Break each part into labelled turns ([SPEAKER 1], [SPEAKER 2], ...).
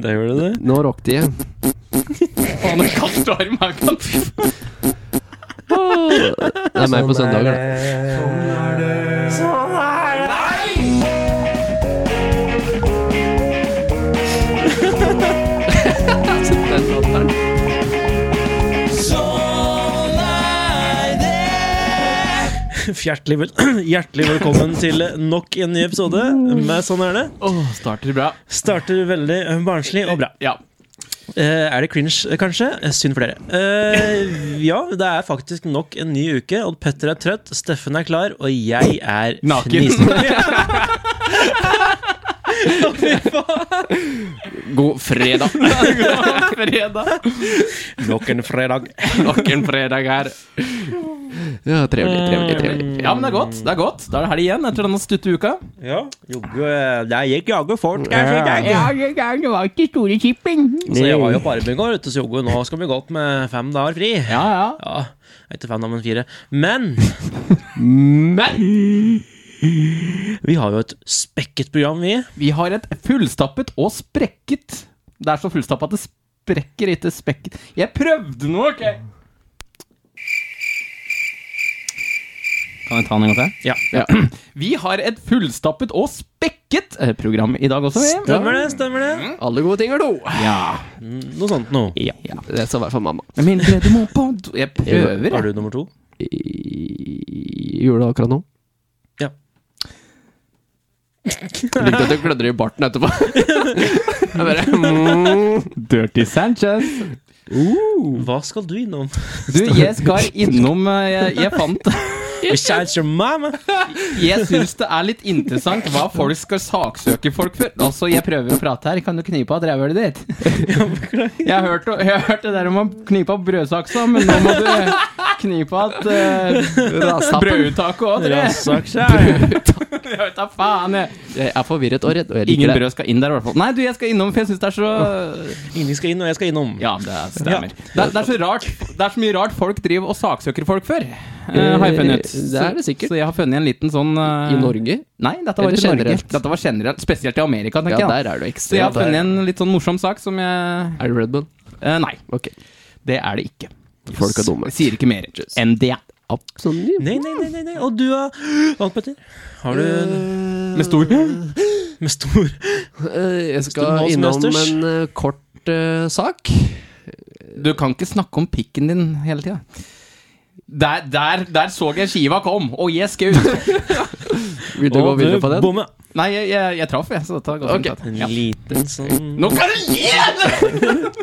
[SPEAKER 1] Der gjør du det.
[SPEAKER 2] Nå rocket de.
[SPEAKER 3] Faen, en kattearm her kan
[SPEAKER 2] Det Sånn er meg på søndager, det. Sånn
[SPEAKER 1] Hjertelig, vel Hjertelig velkommen til nok en ny episode med Sånn er det.
[SPEAKER 3] Åh, starter bra.
[SPEAKER 1] Starter veldig eh, barnslig og bra.
[SPEAKER 3] Ja.
[SPEAKER 1] Eh, er det cringe, eh, kanskje? Eh, Synd for dere. Eh, ja, det er faktisk nok en ny uke. Odd Petter er trøtt, Steffen er klar, og jeg er
[SPEAKER 3] Naken.
[SPEAKER 1] Å, fy faen.
[SPEAKER 2] God fredag.
[SPEAKER 3] God fredag.
[SPEAKER 1] Nok en fredag.
[SPEAKER 3] Nok en fredag her. Eh,
[SPEAKER 2] Ja, trevelig, trevelig, trevelig.
[SPEAKER 3] Ja, men det er godt. Det er godt. Da er det helg igjen etter denne stutte uka.
[SPEAKER 1] Ja, jogge eh, Det gikk jaggu fort.
[SPEAKER 2] Ja.
[SPEAKER 1] Så
[SPEAKER 3] det var ikke store shipping.
[SPEAKER 1] jeg var jo på arbeid i går, vet du, så jogge nå skal vi godt med fem dager fri.
[SPEAKER 3] Ja, ja.
[SPEAKER 1] Ja, ikke fem dager, men fire. Men
[SPEAKER 3] Men
[SPEAKER 1] vi har jo et spekket program, vi.
[SPEAKER 3] vi har et fullstappet og sprekket Det er så fullstappet at det sprekker, ikke spekket. Jeg prøvde noe, OK? Kan jeg ta den en gang til?
[SPEAKER 1] Ja,
[SPEAKER 3] Ja. Vi har et fullstappet og spekket eh, program i dag også. Vi.
[SPEAKER 1] Stemmer det, stemmer det.
[SPEAKER 2] Alle gode ting er do.
[SPEAKER 3] Ja.
[SPEAKER 1] Noe sånt noe.
[SPEAKER 3] ja.
[SPEAKER 2] Det sa i hvert fall mamma.
[SPEAKER 3] Men mindre du må på do Jeg prøver,
[SPEAKER 1] Har
[SPEAKER 3] jeg.
[SPEAKER 1] du nummer to?
[SPEAKER 2] I- Gjorde det akkurat nå.
[SPEAKER 1] Ja.
[SPEAKER 2] Likte at du klødde i barten etterpå. Jeg bare mm.
[SPEAKER 3] Dirty Sanchez.
[SPEAKER 1] Hva skal du innom?
[SPEAKER 3] Du, jeg skal innom eh, Jeg, jeg fant
[SPEAKER 1] Besides your mama.
[SPEAKER 3] Jeg syns det er litt interessant hva folk skal saksøke folk for. Altså, jeg prøver å prate her. Kan du knipe av drevhølet ditt? Jeg har, hørt, jeg har hørt det der om å knipe av brødsaksa, men nå må du knipe av uh, brødtaket òg, tror jeg.
[SPEAKER 1] Rassakse.
[SPEAKER 3] Jeg vet da faen, jeg.
[SPEAKER 2] Jeg er forvirret og redd, og jeg
[SPEAKER 3] Ingen
[SPEAKER 2] liker det.
[SPEAKER 3] brød skal inn der, i hvert fall. Nei, du, jeg skal innom, for jeg syns det er så
[SPEAKER 1] Ingen skal inn, og jeg skal innom.
[SPEAKER 3] Ja, det stemmer. Det, er- det er så rart Det er så mye rart folk driver og saksøker folk for, eh, har jeg funnet ut.
[SPEAKER 2] Det er det sikkert.
[SPEAKER 3] Så jeg har funnet en liten sånn eh,
[SPEAKER 2] I Norge?
[SPEAKER 3] Nei, dette var
[SPEAKER 2] Eller
[SPEAKER 3] ikke Norge.
[SPEAKER 2] generelt?
[SPEAKER 3] Dette var generelt. Spesielt i Amerika,
[SPEAKER 2] Ja,
[SPEAKER 3] tenker jeg. da.
[SPEAKER 2] der
[SPEAKER 3] Så
[SPEAKER 2] er du
[SPEAKER 3] jeg har
[SPEAKER 2] ekstremt.
[SPEAKER 3] funnet
[SPEAKER 2] Der.
[SPEAKER 3] en litt sånn morsom sak som jeg
[SPEAKER 2] Er du Redman?
[SPEAKER 3] eh, Nei,
[SPEAKER 2] Ok.
[SPEAKER 3] det er det ikke.
[SPEAKER 2] Folk er dumme.
[SPEAKER 3] Jeg sier ikke mer enn det.
[SPEAKER 2] Absolutt.
[SPEAKER 1] Nei, nei, nei, nei, nei. Og du, da? Hva, Petter? Har du en
[SPEAKER 3] Eh, Med stor
[SPEAKER 1] med stor
[SPEAKER 2] Eh, Jeg
[SPEAKER 1] Stor
[SPEAKER 2] skal innom
[SPEAKER 1] målsmesters.
[SPEAKER 2] en eh, kort eh, sak.
[SPEAKER 3] Du kan ikke snakke om pikken din hele tida. Der, der, der så jeg skiva kom, og jeg skaut!
[SPEAKER 2] Vil du gå
[SPEAKER 1] Og
[SPEAKER 2] videre på den?
[SPEAKER 1] bomma.
[SPEAKER 3] Nei, jeg, jeg, jeg traff, jeg, så dette går
[SPEAKER 2] Ok.
[SPEAKER 3] fint.
[SPEAKER 1] En
[SPEAKER 3] Ja.
[SPEAKER 1] liten sånn
[SPEAKER 3] Nå kan du gi deg!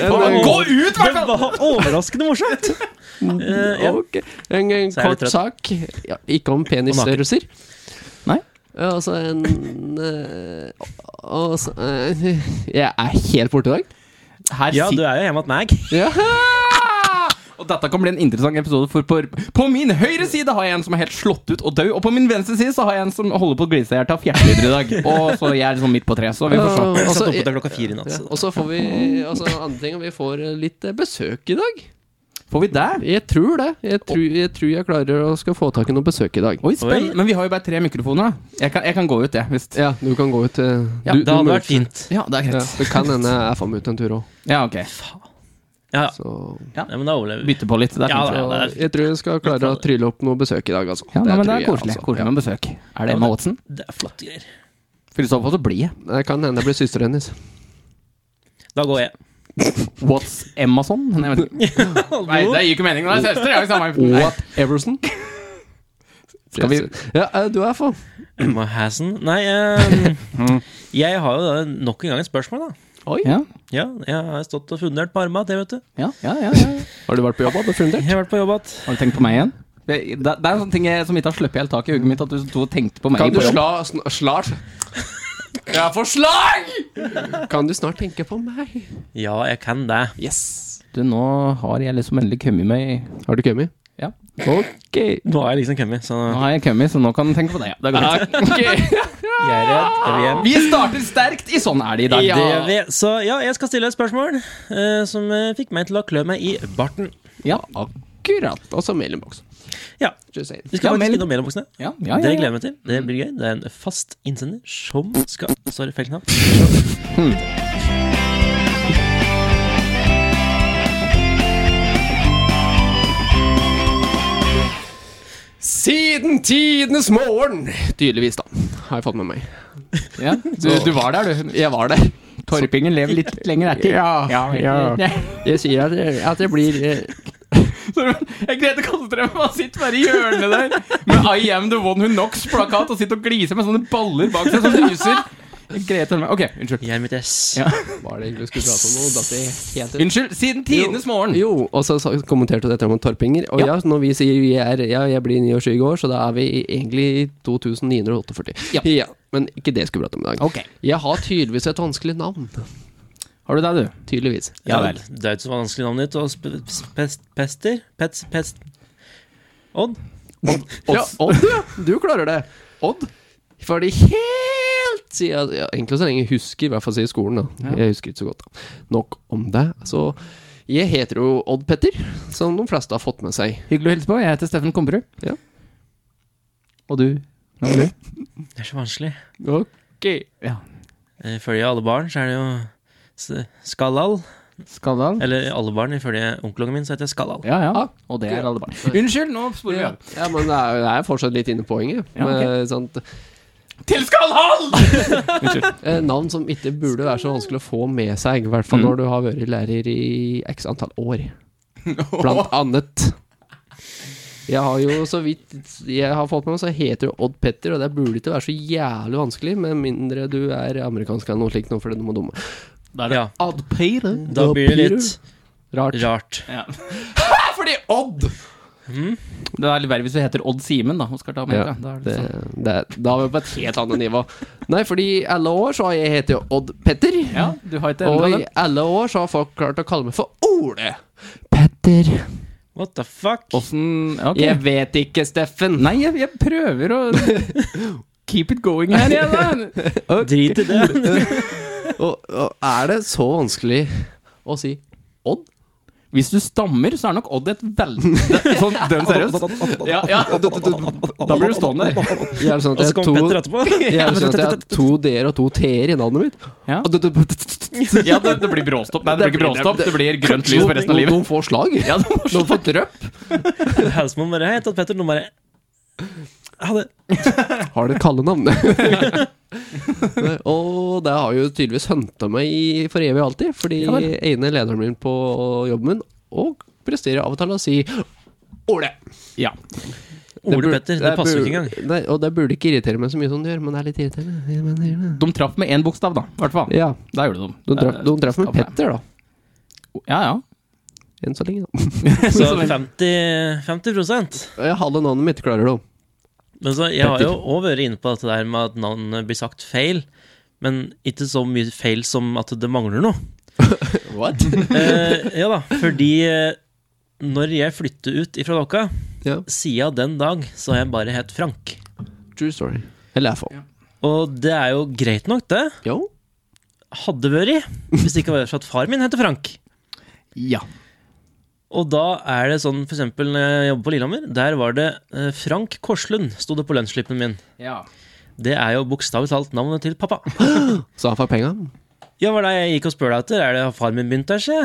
[SPEAKER 2] En-
[SPEAKER 3] Gå ut, i
[SPEAKER 1] Det
[SPEAKER 3] hvert fall!
[SPEAKER 1] var overraskende morsomt! Eh, ja.
[SPEAKER 2] Ok, en, en
[SPEAKER 1] Så er du
[SPEAKER 2] kort
[SPEAKER 1] trøtt.
[SPEAKER 2] sak. Ja, ikke om penisstørrelser.
[SPEAKER 3] Nei.
[SPEAKER 2] Ja, Altså en eh, altså, eh, Jeg er helt borte i dag.
[SPEAKER 3] Her
[SPEAKER 1] ja, du
[SPEAKER 3] sitter
[SPEAKER 1] er jo hjemme hos meg.
[SPEAKER 3] Altså,
[SPEAKER 2] Ja.
[SPEAKER 3] Og dette kan bli en interessant episode, for på, på min høyre side har jeg en som er helt slått ut og død, og på min venstre side så har jeg en som holder på å glise seg i hjel av fjertelyder i dag. Og så jeg er liksom midt på treet, så vi får se.
[SPEAKER 1] Jeg
[SPEAKER 2] Altså,
[SPEAKER 1] satt oppe
[SPEAKER 2] jeg-
[SPEAKER 1] til klokka fire i natt.
[SPEAKER 2] ja,
[SPEAKER 1] så-
[SPEAKER 2] Og så får vi altså, andre ting Vi får eh, litt eh, besøk i dag.
[SPEAKER 3] Får vi det?
[SPEAKER 2] Jeg tror det. Jeg tror jeg, tror jeg klarer å skal få tak i noe besøk i dag.
[SPEAKER 3] Oi, spennende.
[SPEAKER 1] Oi.
[SPEAKER 3] Men vi har jo bare tre mikrofoner. da. Jeg kan, jeg kan gå ut, jeg, hvis
[SPEAKER 2] Ja, du kan gå ut. eh,
[SPEAKER 3] Ja,
[SPEAKER 2] du,
[SPEAKER 1] Det hadde
[SPEAKER 2] du må
[SPEAKER 1] vært
[SPEAKER 2] ut.
[SPEAKER 1] fint.
[SPEAKER 3] Ja, det er
[SPEAKER 2] Ja,
[SPEAKER 3] greit.
[SPEAKER 2] det kan hende jeg får meg ut en tur òg.
[SPEAKER 3] Ja, ok.
[SPEAKER 1] Ja, ja.
[SPEAKER 2] Så
[SPEAKER 1] Nei, men da overlever vi.
[SPEAKER 3] Bytte på litt. Det er
[SPEAKER 1] Ja,
[SPEAKER 3] fint.
[SPEAKER 1] da.
[SPEAKER 2] så
[SPEAKER 1] det er-
[SPEAKER 2] jeg tror jeg skal klare å trylle opp noe besøk i dag, altså.
[SPEAKER 3] Ja, nei, men det
[SPEAKER 2] tror
[SPEAKER 3] er
[SPEAKER 2] jeg,
[SPEAKER 3] koselig.
[SPEAKER 2] altså.
[SPEAKER 3] Koselig med besøk. Er det Emma Watson?
[SPEAKER 1] Det er flotte greier.
[SPEAKER 3] For i så fall så blir jeg.
[SPEAKER 2] Det kan hende jeg blir søsteren hennes.
[SPEAKER 1] Da går jeg.
[SPEAKER 3] What's Emmason? Nei, jeg vet ikke. Nei, det gir ikke mening. Hun er søster. Jeg er sammen. Nei.
[SPEAKER 2] What Everson? Skal vi Ja, eh, du er for.
[SPEAKER 1] Emma Hassen. Nei, eh,
[SPEAKER 3] Mm.
[SPEAKER 1] jeg har jo da nok en gang et spørsmål, da.
[SPEAKER 2] Oi.
[SPEAKER 3] Ja,
[SPEAKER 1] Ja, jeg har stått og fundert på armene, det vet du.
[SPEAKER 3] ja, ja. ja, ja.
[SPEAKER 2] Har du vært på jobb, da? Fundert?
[SPEAKER 1] Jeg har vært på jobb att.
[SPEAKER 3] Har du tenkt på meg igjen? Det, det det er en sånn ting jeg, som ikke har sluppet helt tak i i hodet mitt, at du sto og tenkte på meg.
[SPEAKER 2] Kan du
[SPEAKER 3] på jobb.
[SPEAKER 2] sla sn- Slar? Jeg er for slag! Kan du snart tenke på meg?
[SPEAKER 1] Ja, jeg kan det.
[SPEAKER 2] Yes.
[SPEAKER 3] Du, nå har jeg liksom endelig kommet meg
[SPEAKER 2] Har du kommet?
[SPEAKER 3] Ja.
[SPEAKER 2] Ok.
[SPEAKER 1] Nå har jeg liksom kommet, så
[SPEAKER 3] Nå har jeg kommet, så nå kan du tenke på det. Ja, det går fint.
[SPEAKER 1] jeg er redd. Jeg vil hjem.
[SPEAKER 3] Vi starter sterkt i Sånn er det i dag.
[SPEAKER 2] Ja.
[SPEAKER 1] Det gjør vi. Så ja, jeg skal stille et spørsmål eh, som eh, fikk meg til å klø meg i barten.
[SPEAKER 3] Ja.
[SPEAKER 2] Akkurat. Og så mailinnboks.
[SPEAKER 1] Ja,
[SPEAKER 2] Just saying.
[SPEAKER 1] vi skal
[SPEAKER 3] Ja,
[SPEAKER 1] faktisk
[SPEAKER 3] meld-
[SPEAKER 1] innom mellomboksene.
[SPEAKER 3] Ja, ja, ja, Mm.
[SPEAKER 1] Det
[SPEAKER 3] ja.
[SPEAKER 1] gleder jeg meg til. Det blir gøy. Det er en fast innsender som skal Sorry, feil knapp.
[SPEAKER 2] Siden tidenes morgen! Tydeligvis, da. Har jeg fått med meg.
[SPEAKER 3] Ja, du, du var der, du.
[SPEAKER 2] Jeg var der.
[SPEAKER 3] Torpingen lever litt lenger etter.
[SPEAKER 2] Ja, ja. Jeg sier at det, at det blir eh,
[SPEAKER 3] Jeg greide å konsentrere meg, han sitter bare i hjørnet der med I am the one who knocks-plakat og sitter og gliser med sånne baller bak seg som lyser. Jeg greide til meg. Ok, unnskyld.
[SPEAKER 1] Jeg er mitt ess.
[SPEAKER 3] Ja.
[SPEAKER 2] Var det egentlig vi skulle prate om noe? Datt det helt ut?
[SPEAKER 3] Unnskyld, siden tidenes morgen.
[SPEAKER 2] Jo, og så sa- kommenterte du dette om torpinger. Og
[SPEAKER 3] Ja.
[SPEAKER 2] ja, når vi sier vi er Ja, jeg blir 29 år, så da er vi egentlig i 2948.
[SPEAKER 3] Ja.
[SPEAKER 2] men ikke det skulle vi prate om i dag.
[SPEAKER 3] Ok.
[SPEAKER 2] Jeg har tydeligvis et vanskelig navn.
[SPEAKER 3] Har du deg, du?
[SPEAKER 2] Tydeligvis.
[SPEAKER 1] Ja vel. Det er jo ikke så vanskelig navnet ditt. Og sp- sp- pest, pester? Pets, pest... Odd?
[SPEAKER 2] Ja, Odd, ja. Du klarer det. Odd? Fordi helt siden ja, Egentlig så lenge jeg husker, i hvert fall siden skolen. da
[SPEAKER 3] Ja.
[SPEAKER 2] Jeg husker ikke så godt. da. Nok om det. Så jeg heter jo Odd Petter, som de fleste har fått med seg.
[SPEAKER 3] Hyggelig å hilse på. Jeg heter Steffen Komperud.
[SPEAKER 2] Ja.
[SPEAKER 3] Og du? Hvem er du?
[SPEAKER 1] Det er så vanskelig.
[SPEAKER 2] Ok
[SPEAKER 3] Ja.
[SPEAKER 1] Ifølge alle barn så er det jo s- Skallal.
[SPEAKER 3] Skadal?
[SPEAKER 1] Eller alle barn, ifølge onkelen min så heter jeg Skallal.
[SPEAKER 3] Ja, ja.
[SPEAKER 2] Ah.
[SPEAKER 3] Og det er alle barn. Unnskyld, nå sporer vi
[SPEAKER 2] Ja,
[SPEAKER 3] av.
[SPEAKER 2] ja men det er, det er fortsatt litt inne i poenget.
[SPEAKER 3] Ja, ok.
[SPEAKER 2] med sånt,
[SPEAKER 3] Til Skadal!
[SPEAKER 2] eh, navn som ikke burde være så vanskelig å få med seg, i hvert fall når du har vært lærer i x antall år. Blant annet. Jeg har jo så vidt jeg har fått med meg, så heter du Odd Petter, og det burde ikke være så jævlig vanskelig, med mindre du er amerikansk eller noe slikt, nå for det må dumme.
[SPEAKER 1] Ja,
[SPEAKER 3] Odd Peter.
[SPEAKER 1] da blir det litt
[SPEAKER 2] Rart.
[SPEAKER 1] rart.
[SPEAKER 3] Ja.
[SPEAKER 2] Fordi Odd!
[SPEAKER 3] Mm. Det er litt verre hvis du heter Odd Simen, da. Oskar Dahl Mjelde.
[SPEAKER 2] Ja,
[SPEAKER 3] Da er det
[SPEAKER 2] det,
[SPEAKER 3] sånn.
[SPEAKER 2] det, da er vi på et helt annet nivå. Nei, fordi i alle år så har jeg hett jo Odd Petter.
[SPEAKER 3] ja, du har ikke
[SPEAKER 2] Og
[SPEAKER 3] endra
[SPEAKER 2] i
[SPEAKER 3] den?
[SPEAKER 2] alle år så har folk klart å kalle meg for Ole. Petter.
[SPEAKER 1] What the fuck?
[SPEAKER 3] Åssen Ok.
[SPEAKER 2] Jeg vet ikke, Steffen.
[SPEAKER 3] Nei, jeg, jeg prøver å Keep it going her igjen, da.
[SPEAKER 1] Drit i det.
[SPEAKER 2] Og, og er det så vanskelig å si Odd?
[SPEAKER 3] Hvis du stammer, så er nok Odd et veldig Sånn dønn seriøst. Ja, ja. Da blir du stående.
[SPEAKER 2] Jeg er sånn
[SPEAKER 1] Og så
[SPEAKER 2] at jeg har
[SPEAKER 1] kommer Petter
[SPEAKER 2] to,
[SPEAKER 1] etterpå.
[SPEAKER 2] jeg er sånn at jeg har to D-er og to T-er i navnet mitt.
[SPEAKER 3] Ja.
[SPEAKER 2] Og det- det-
[SPEAKER 3] Ja, det, det blir bråstopp. Nei, det blir ikke bråstopp. Det blir grønt lys for resten av livet.
[SPEAKER 2] Noen får slag.
[SPEAKER 3] Ja, det må
[SPEAKER 2] Noen får drøpp.
[SPEAKER 1] Hausmann bare Hei, jeg heter Petter. Nå bare Ha det.
[SPEAKER 2] Har det kallenavn. Nei, og det har jo tydeligvis hunta meg i- for evig og alltid. Fordi
[SPEAKER 3] Ja vel.
[SPEAKER 2] ene lederen min på jobben min og presterer av og til å si Ole.
[SPEAKER 3] Ja.
[SPEAKER 1] Ole
[SPEAKER 2] bur-
[SPEAKER 1] Petter. Det passer jo
[SPEAKER 2] bur-
[SPEAKER 1] ikke engang.
[SPEAKER 2] Nei, og det burde ikke irritere meg så mye som det gjør, men det er litt irriterende. Ja, men det gjør det.
[SPEAKER 3] De traff med én bokstav, da. I hvert fall.
[SPEAKER 2] Ja,
[SPEAKER 3] Da gjorde de.
[SPEAKER 2] de traff, de traff med
[SPEAKER 3] Skapte.
[SPEAKER 2] Petter, da.
[SPEAKER 3] Ja, ja.
[SPEAKER 2] Enn så lenge, da.
[SPEAKER 1] Så 50, 50
[SPEAKER 2] Eh, Jeg hadde navnet mitt, klarer du.
[SPEAKER 1] Men så, jeg har jo òg vært inne på dette der med at navnet blir sagt feil. Men ikke så mye feil som at det mangler noe.
[SPEAKER 2] What?
[SPEAKER 1] Eh, ja da, fordi eh, når jeg flytter ut ifra dere,
[SPEAKER 2] ja,
[SPEAKER 1] siden den dag så har jeg bare hett Frank.
[SPEAKER 2] true story. Eller FO.
[SPEAKER 1] Og det er jo greit nok, det.
[SPEAKER 2] Jo.
[SPEAKER 1] Hadde vært hvis det ikke var for at far min heter Frank.
[SPEAKER 3] Ja.
[SPEAKER 1] Og da er det sånn, for eksempel når jeg jobber på Lillehammer, der var det eh, Frank Korslund, sto det på lønnsslippen min.
[SPEAKER 3] ja.
[SPEAKER 1] Det er jo bokstavelig talt navnet til pappa.
[SPEAKER 2] Så han får penga.
[SPEAKER 1] Ja, var det jeg gikk og spør deg etter? Er det har far min begynt der, se?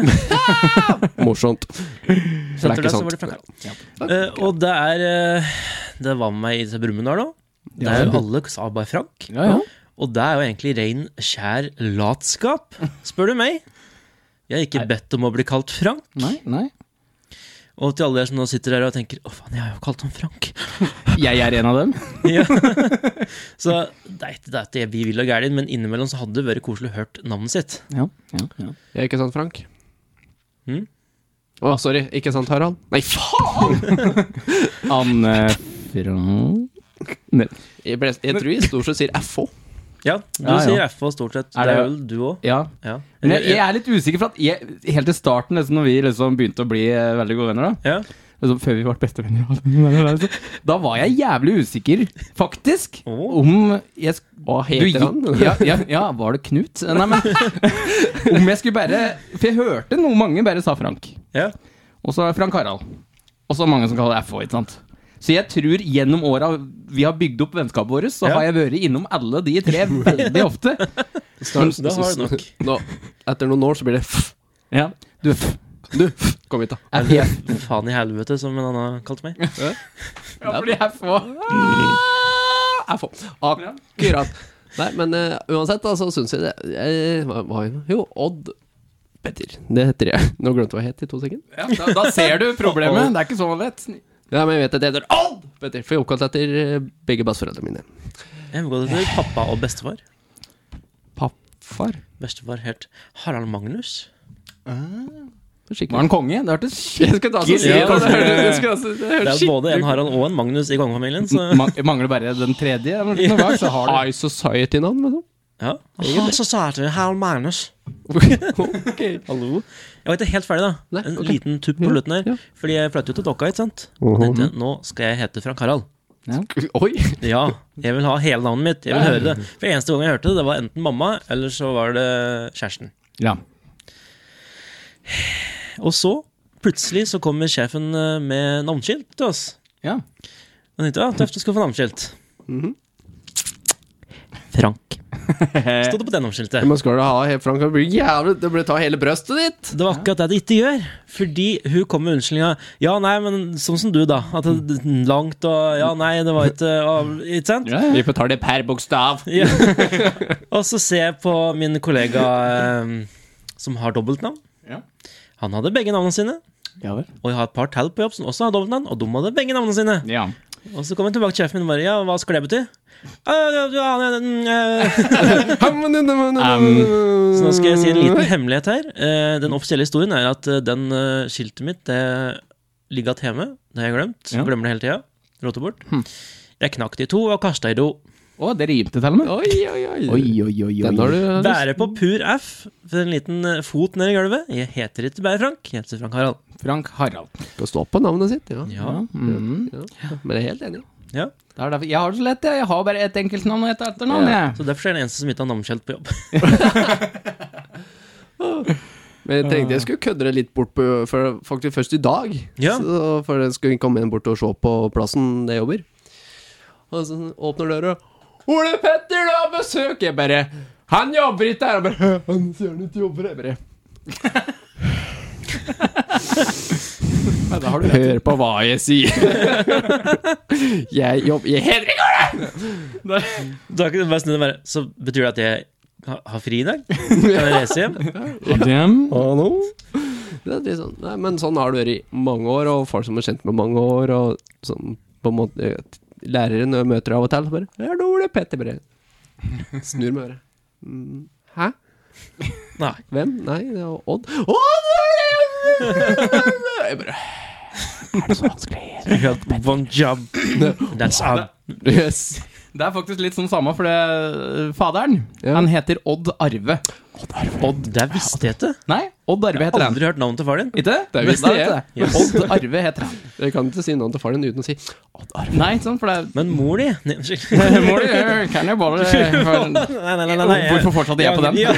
[SPEAKER 2] Morsomt.
[SPEAKER 1] Så etter
[SPEAKER 2] Det er
[SPEAKER 1] det
[SPEAKER 2] ikke
[SPEAKER 1] så var det
[SPEAKER 2] sant.
[SPEAKER 1] Frank. Eh, og det er eh, Det var med meg i Brumunddal òg. Det er jo alle sa bare Frank.
[SPEAKER 3] Ja, ja.
[SPEAKER 1] Og det er jo egentlig rein, skjær latskap, spør du meg. Jeg har ikke bedt om å bli kalt Frank.
[SPEAKER 3] Nei, nei.
[SPEAKER 1] Og til alle dere som nå sitter der og tenker 'Å, faen, jeg har jo kalt ham Frank'.
[SPEAKER 3] Jeg er en av dem.
[SPEAKER 1] Ja. Så det er ikke det at jeg- vi vil og gæren, men innimellom så hadde det vært koselig å hørt navnet sitt.
[SPEAKER 3] Ja, ja, ja.
[SPEAKER 2] Ja, ikke sant, Frank?
[SPEAKER 1] Mm.
[SPEAKER 2] Å, sorry. Ikke sant, Harald? Nei, faen!
[SPEAKER 3] Anne Frank Nei.
[SPEAKER 2] Jeg, ble, jeg tror jeg stort sett sier FO.
[SPEAKER 1] Ja, du
[SPEAKER 3] Ja, ja.
[SPEAKER 1] sier FH stort sett.
[SPEAKER 3] Er
[SPEAKER 1] det er
[SPEAKER 3] det-
[SPEAKER 1] vel du òg?
[SPEAKER 3] Ja.
[SPEAKER 1] Ja.
[SPEAKER 3] Men jeg, jeg er litt usikker, for at jeg, helt til starten, liksom, når vi liksom begynte å bli eh, veldig gode venner, da
[SPEAKER 1] ja.
[SPEAKER 3] liksom, Før vi ble bestevenner, liksom- da var jeg jævlig usikker, faktisk,
[SPEAKER 1] Å.
[SPEAKER 3] om jeg sk-
[SPEAKER 2] Hva
[SPEAKER 3] du
[SPEAKER 2] heter han?
[SPEAKER 3] gikk- Ja, ja, ja, var det Knut? Nei, men Om jeg skulle bare For jeg hørte noe mange bare sa Frank.
[SPEAKER 1] ja.
[SPEAKER 3] Og så Frank Harald. Og så mange som kaller det FH, ikke sant. Så jeg tror gjennom åra vi har bygd opp vennskapet vårt, så
[SPEAKER 1] Ja.
[SPEAKER 3] har jeg vært innom alle de tre veldig ofte.
[SPEAKER 1] da har du nok.
[SPEAKER 2] Nå, etter noen år så blir det F.
[SPEAKER 3] Ja. Du, f-
[SPEAKER 2] Du, f. Kom hit, da.
[SPEAKER 1] Eller faen i helvete, som en annen kalte meg.
[SPEAKER 3] Ja, fordi jeg får
[SPEAKER 2] Jeg får akkurat. Nei, men eh, uansett, da, så syns jeg det eh, hva var jeg nå? Jo, Odd Petter. Det heter jeg. Nå glemte jeg hva jeg het i to sekunder.
[SPEAKER 3] ja, da, da ser du problemet. Det er ikke så lett.
[SPEAKER 2] Ja, men jeg vet at jeg heter Odd Petter, for jeg er oppkalt etter eh, begge besteforeldrene mine.
[SPEAKER 1] Jeg må gå til pappa og bestefar.
[SPEAKER 2] Pappfar?
[SPEAKER 1] Bestefar het Harald Magnus.
[SPEAKER 3] Var
[SPEAKER 2] Skikkelig.
[SPEAKER 3] han konge? Det hørtes
[SPEAKER 2] Jeg skulle ta så si det.
[SPEAKER 1] Ja,
[SPEAKER 2] Det
[SPEAKER 1] det-
[SPEAKER 2] hørtes- jeg skulle altså- det
[SPEAKER 1] Det
[SPEAKER 2] hørtes
[SPEAKER 1] er både en
[SPEAKER 2] skikkelig
[SPEAKER 1] Harald og en Magnus i kongefamilien, så
[SPEAKER 3] Man- Mangler bare den tredje. eller noe bak, Så har du
[SPEAKER 2] High Society-navn, liksom.
[SPEAKER 1] ja. så sa jeg til Harald Magnus.
[SPEAKER 2] Ok.
[SPEAKER 1] Hallo. Jeg var ikke helt ferdig, da.
[SPEAKER 2] Nei,
[SPEAKER 1] En
[SPEAKER 2] ok.
[SPEAKER 1] liten tupp på
[SPEAKER 2] Ja,
[SPEAKER 1] slutten her.
[SPEAKER 2] ja.
[SPEAKER 1] Fordi jeg flyttet jo til Dokka, ikke sant.
[SPEAKER 2] Mhm.
[SPEAKER 1] Tenkte, nå skal jeg hete Frank Harald.
[SPEAKER 2] Oi!
[SPEAKER 1] Ja, jeg vil ha hele navnet mitt. Jeg vil høre det. For eneste gang jeg hørte det, det var enten mamma, eller så var det kjæresten.
[SPEAKER 3] Ja.
[SPEAKER 1] Og så, plutselig, så kommer sjefen eh, med navneskilt til oss.
[SPEAKER 3] ja.
[SPEAKER 1] Og tenkte, ja, tøft, du skal få navneskilt. Frank. Stod det på det navneskiltet.
[SPEAKER 2] Men skal du ha helt frank, det blir jævlig Det blir ta hele brøstet ditt!
[SPEAKER 1] Det var akkurat det det ikke gjør. Fordi hun kom med unnskyldninga Ja, nei, men sånn som du, da. At det er langt og Ja, nei, det var ikke og, Ikke sant?
[SPEAKER 3] Ja, ja.
[SPEAKER 2] Vi betaler per bokstav.
[SPEAKER 1] Ja. og så ser jeg på min kollega eh, som har dobbeltnavn.
[SPEAKER 3] Ja.
[SPEAKER 1] Han hadde begge navnene sine.
[SPEAKER 3] Ja vel.
[SPEAKER 1] Og jeg har et par til på jobb som også har dobbeltnavn, og de hadde begge navnene sine.
[SPEAKER 3] Ja.
[SPEAKER 1] Og så kom jeg tilbake til sjefen min og bare Ja, hva skal det bety? «Øh, ja, ja, ja, mm, eh».
[SPEAKER 3] Um,
[SPEAKER 1] Så nå skal jeg si en liten hemmelighet her. Eh, Den offisielle historien er at eh, den eh, skiltet mitt det ligger igjen hjemme. Det har jeg glemt.
[SPEAKER 3] Ja.
[SPEAKER 1] Glemmer det hele tida. Roter bort. Jeg knakk det i to og kasta i do.
[SPEAKER 3] Å, det rimte til og med.
[SPEAKER 2] Oi, oi, oi.
[SPEAKER 3] oi, oi.
[SPEAKER 2] Den har du
[SPEAKER 1] Bære på pur F for en liten eh, fot ned i gulvet. Jeg heter ikke Bære Frank, jeg heter Frank Harald.
[SPEAKER 3] Frank Harald.
[SPEAKER 2] Skal stå på navnet sitt, ja.
[SPEAKER 1] Ja,
[SPEAKER 3] Mm.
[SPEAKER 2] ja. Men jeg er helt enig.
[SPEAKER 1] ja.
[SPEAKER 3] Det er derfor, jeg har det så lett, jeg. Jeg har bare ett enkeltnavn og ett etternavn.
[SPEAKER 2] Ja.
[SPEAKER 3] jeg.
[SPEAKER 1] Så derfor er jeg den eneste som ikke har navneskjelt på jobb.
[SPEAKER 2] Men jeg tenkte jeg
[SPEAKER 3] Eh.
[SPEAKER 2] skulle kødde det litt bort på, for faktisk først i dag.
[SPEAKER 1] Ja.
[SPEAKER 2] Så, for jeg skulle komme inn bort og se på plassen jeg jobber. Og så åpner døra Ole Petter, du har besøk! Jeg bare Han jobber ikke her! Han bare «Hæ, Han søren ikke jobber! Jeg bare
[SPEAKER 3] Ja, da har du
[SPEAKER 2] Hør på hva jeg sier! jeg jobber Jeg heter ikke Ole!
[SPEAKER 1] Da kan du bare snu deg og bare Så betyr det at jeg ha- har fri i dag? Kan jeg reise hjem?
[SPEAKER 3] Dem.
[SPEAKER 2] Det er litt sånn, nei, men sånn har det vært i mange år, og folk som er kjent med mange år, og sånn på en måte eh, Lærere når jeg møter av og til, så bare 'Er det Ole Petter Bre?' Snur meg bare. Mm, Hæ?
[SPEAKER 1] Nei.
[SPEAKER 2] Hvem? Nei, det var Odd. Odd! Jeg bare Er det så vanskelig?
[SPEAKER 1] You got one job. That's all.
[SPEAKER 2] Yes.
[SPEAKER 3] Det er faktisk litt sånn samme, for det, øh, faderen
[SPEAKER 2] Ja.
[SPEAKER 3] Han heter Odd Arve.
[SPEAKER 1] Odd, det visste jeg ikke.
[SPEAKER 3] Nei, Odd Arve heter han.
[SPEAKER 1] Aldri hørt navnet til far din.
[SPEAKER 3] Ikke?
[SPEAKER 2] Det
[SPEAKER 3] Men
[SPEAKER 2] visste
[SPEAKER 3] da
[SPEAKER 2] jeg.
[SPEAKER 3] er det det. Odd Arve heter han.
[SPEAKER 2] Jeg kan ikke si navnet til faren din uten å si Odd Arve.
[SPEAKER 3] Nei, ikke sant, for det er
[SPEAKER 1] Men mor di Nei, unnskyld.
[SPEAKER 3] Må du Kan jeg bare for,
[SPEAKER 1] Nei, nei, nei, nei, nei.
[SPEAKER 3] Hvorfor fortsatte jeg på den?
[SPEAKER 1] Ja,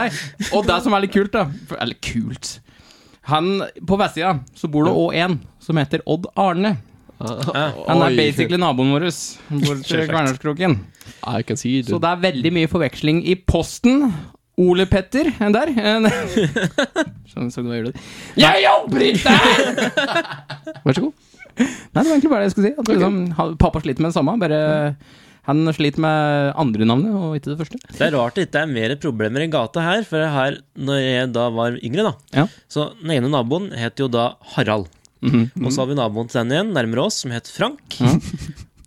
[SPEAKER 3] Nei. Og det som er litt kult, da for, Eller kult Han, På vestsida så bor det òg en som heter Odd Arne. Han er
[SPEAKER 2] «Ah, Oi.
[SPEAKER 3] basically naboen vår. Han bor til
[SPEAKER 1] Perfekt.
[SPEAKER 3] Kvernerskroken.
[SPEAKER 2] I can see
[SPEAKER 3] Så
[SPEAKER 2] it.
[SPEAKER 3] det er veldig mye forveksling i posten. Ole Petter en der. en- Sånn som du gjør det. Jeg jobber ikke!
[SPEAKER 2] Vær så god.
[SPEAKER 3] Nei, det var egentlig bare det jeg skulle si. At liksom, han- pappa sliter med det samme. Bare han sliter med andre navnet, og ikke det første.
[SPEAKER 1] Det er rart det ikke er mer problemer i gata her, for her, når jeg da var yngre, da
[SPEAKER 3] Ja.
[SPEAKER 1] Så den ene naboen het jo da Harald. Og så har vi naboen til den igjen, nærmere oss, som het Frank.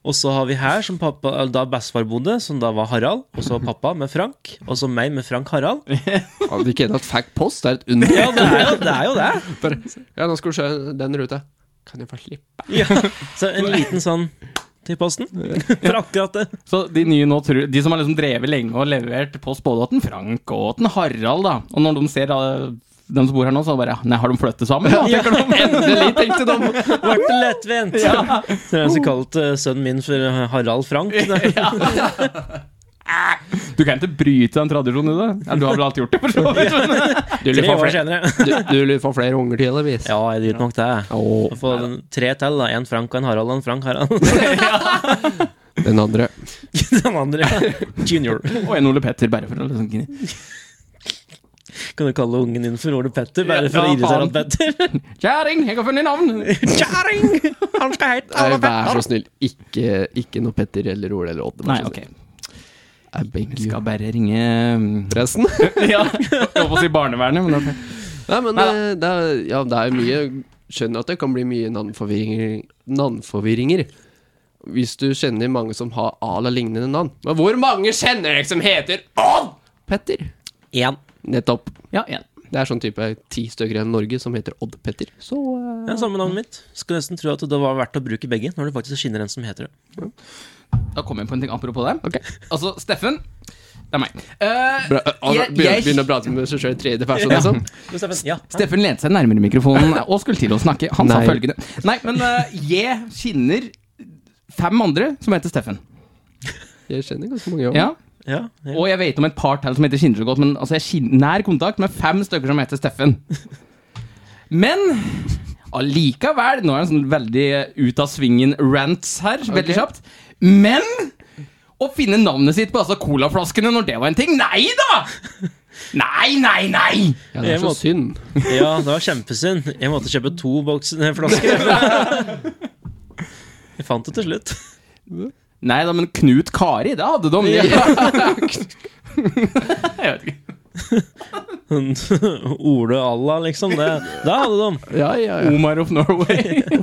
[SPEAKER 1] Og så har vi her, som pappa, eller da bestefar bodde, som da var Harald. Og så pappa med Frank, og så meg med Frank Harald.
[SPEAKER 2] At vi ikke helt fikk post, det er et under.
[SPEAKER 1] Ja, det er jo det. Er jo det.
[SPEAKER 2] Bare, ja, nå skal du se den ruta. Kan jeg få slippe?
[SPEAKER 1] Ja. Så en liten sånn til posten. For akkurat det.
[SPEAKER 3] Så de nye nå tror, de som har liksom drevet lenge og levert post både til Frank og til Harald, da. Og når de ser eh, dem som bor her nå, så bare Nei, har de flyttet sammen? Da?
[SPEAKER 1] Ja.
[SPEAKER 3] tenker de.
[SPEAKER 2] Endelig, tenkte de!
[SPEAKER 1] Ble det lettvint. Ja. Så jeg har også kalt eh, sønnen min for Harald Frank. Da.
[SPEAKER 3] Du kan ikke bryte den tradisjonen i det. Ja, du har vel alltid gjort det, for så vidt. men-
[SPEAKER 2] Du vil
[SPEAKER 1] Tre
[SPEAKER 2] få
[SPEAKER 1] år
[SPEAKER 2] flere,
[SPEAKER 1] senere.
[SPEAKER 2] du, du vil få flere unger til, eller vis?
[SPEAKER 1] Ja, jeg driter nok det. Å få tre til, da. En Frank og en Harald og en Frank Harald.
[SPEAKER 2] Den andre.
[SPEAKER 1] Den andre, ja. Junior.
[SPEAKER 3] Og en Ole Petter, bare for å liksom
[SPEAKER 1] Kan du kalle ungen din for Ole Petter, bare
[SPEAKER 3] Ja,
[SPEAKER 1] for å
[SPEAKER 3] ja,
[SPEAKER 1] irritere han Petter?
[SPEAKER 3] Kjæring, jeg har funnet navn!
[SPEAKER 1] Kjæring! Han skal hete
[SPEAKER 2] Nei,
[SPEAKER 1] Ole
[SPEAKER 2] Eh, vær
[SPEAKER 1] Petter!
[SPEAKER 2] så snill, ikke, ikke noe Petter eller Ole eller Odd. vær
[SPEAKER 3] Nei,
[SPEAKER 2] så
[SPEAKER 3] ok.
[SPEAKER 2] snill. I beg
[SPEAKER 3] Vi
[SPEAKER 2] you.
[SPEAKER 3] skal bare ringe
[SPEAKER 2] Forresten.
[SPEAKER 3] Ja, jeg holdt på å si barnevernet, men ok.
[SPEAKER 2] Nei, men
[SPEAKER 3] Nei
[SPEAKER 2] eh, det er, ja, det er mye Skjønner at det kan bli mye navnforvirringer, navnforvirringer hvis du kjenner mange som har ala-lignende navn. Men hvor mange kjenner dere som heter Odd Petter?
[SPEAKER 1] Én.
[SPEAKER 2] Nettopp.
[SPEAKER 3] Ja, igjen.
[SPEAKER 2] Det er sånn type ti stykker i Norge som heter Odd Petter. Så eh,
[SPEAKER 1] Ja, samme navnet mitt. Skulle nesten tro at det var verdt å bruke begge, når det faktisk skinner en som heter det.
[SPEAKER 3] Da kom jeg på en ting apropos det.
[SPEAKER 2] Ok.
[SPEAKER 3] Altså, Steffen Det er meg. Eh,
[SPEAKER 2] bra, altså,
[SPEAKER 3] jeg-
[SPEAKER 2] begynner,
[SPEAKER 3] jeg-
[SPEAKER 2] begynner å prate med seg sjøl i tredje person, liksom.
[SPEAKER 1] Men Steffen, ja. hæ?
[SPEAKER 3] Steffen lente seg nærmere mikrofonen og skulle til å snakke. Han
[SPEAKER 2] Nei.
[SPEAKER 3] sa følgende Nei, men eh, jeg kjenner fem andre som heter Steffen.
[SPEAKER 2] Jeg kjenner ganske mange.
[SPEAKER 3] Ja?
[SPEAKER 1] Ja, ja.
[SPEAKER 3] Og jeg vet om et par til som heter Kjenner så godt, men altså, jeg er kin- nær kontakt med fem stykker som heter Steffen. Men allikevel Nå er det en sånn veldig ut av svingen rants her, veldig kjapt. Men å finne navnet sitt på altså colaflaskene når det var en ting Nei da! Nei, nei, nei!
[SPEAKER 2] Ja, det er så synd.
[SPEAKER 1] Ja, det var kjempesynd. Jeg måtte kjøpe to bokser nei, flasker. Jeg fant det til slutt.
[SPEAKER 3] Nei da, men Knut Kari, det hadde de. Jeg vet ikke.
[SPEAKER 1] Ole Allah, liksom. Det, det hadde de.
[SPEAKER 2] Ja, ja, ja.
[SPEAKER 3] Omar of Norway.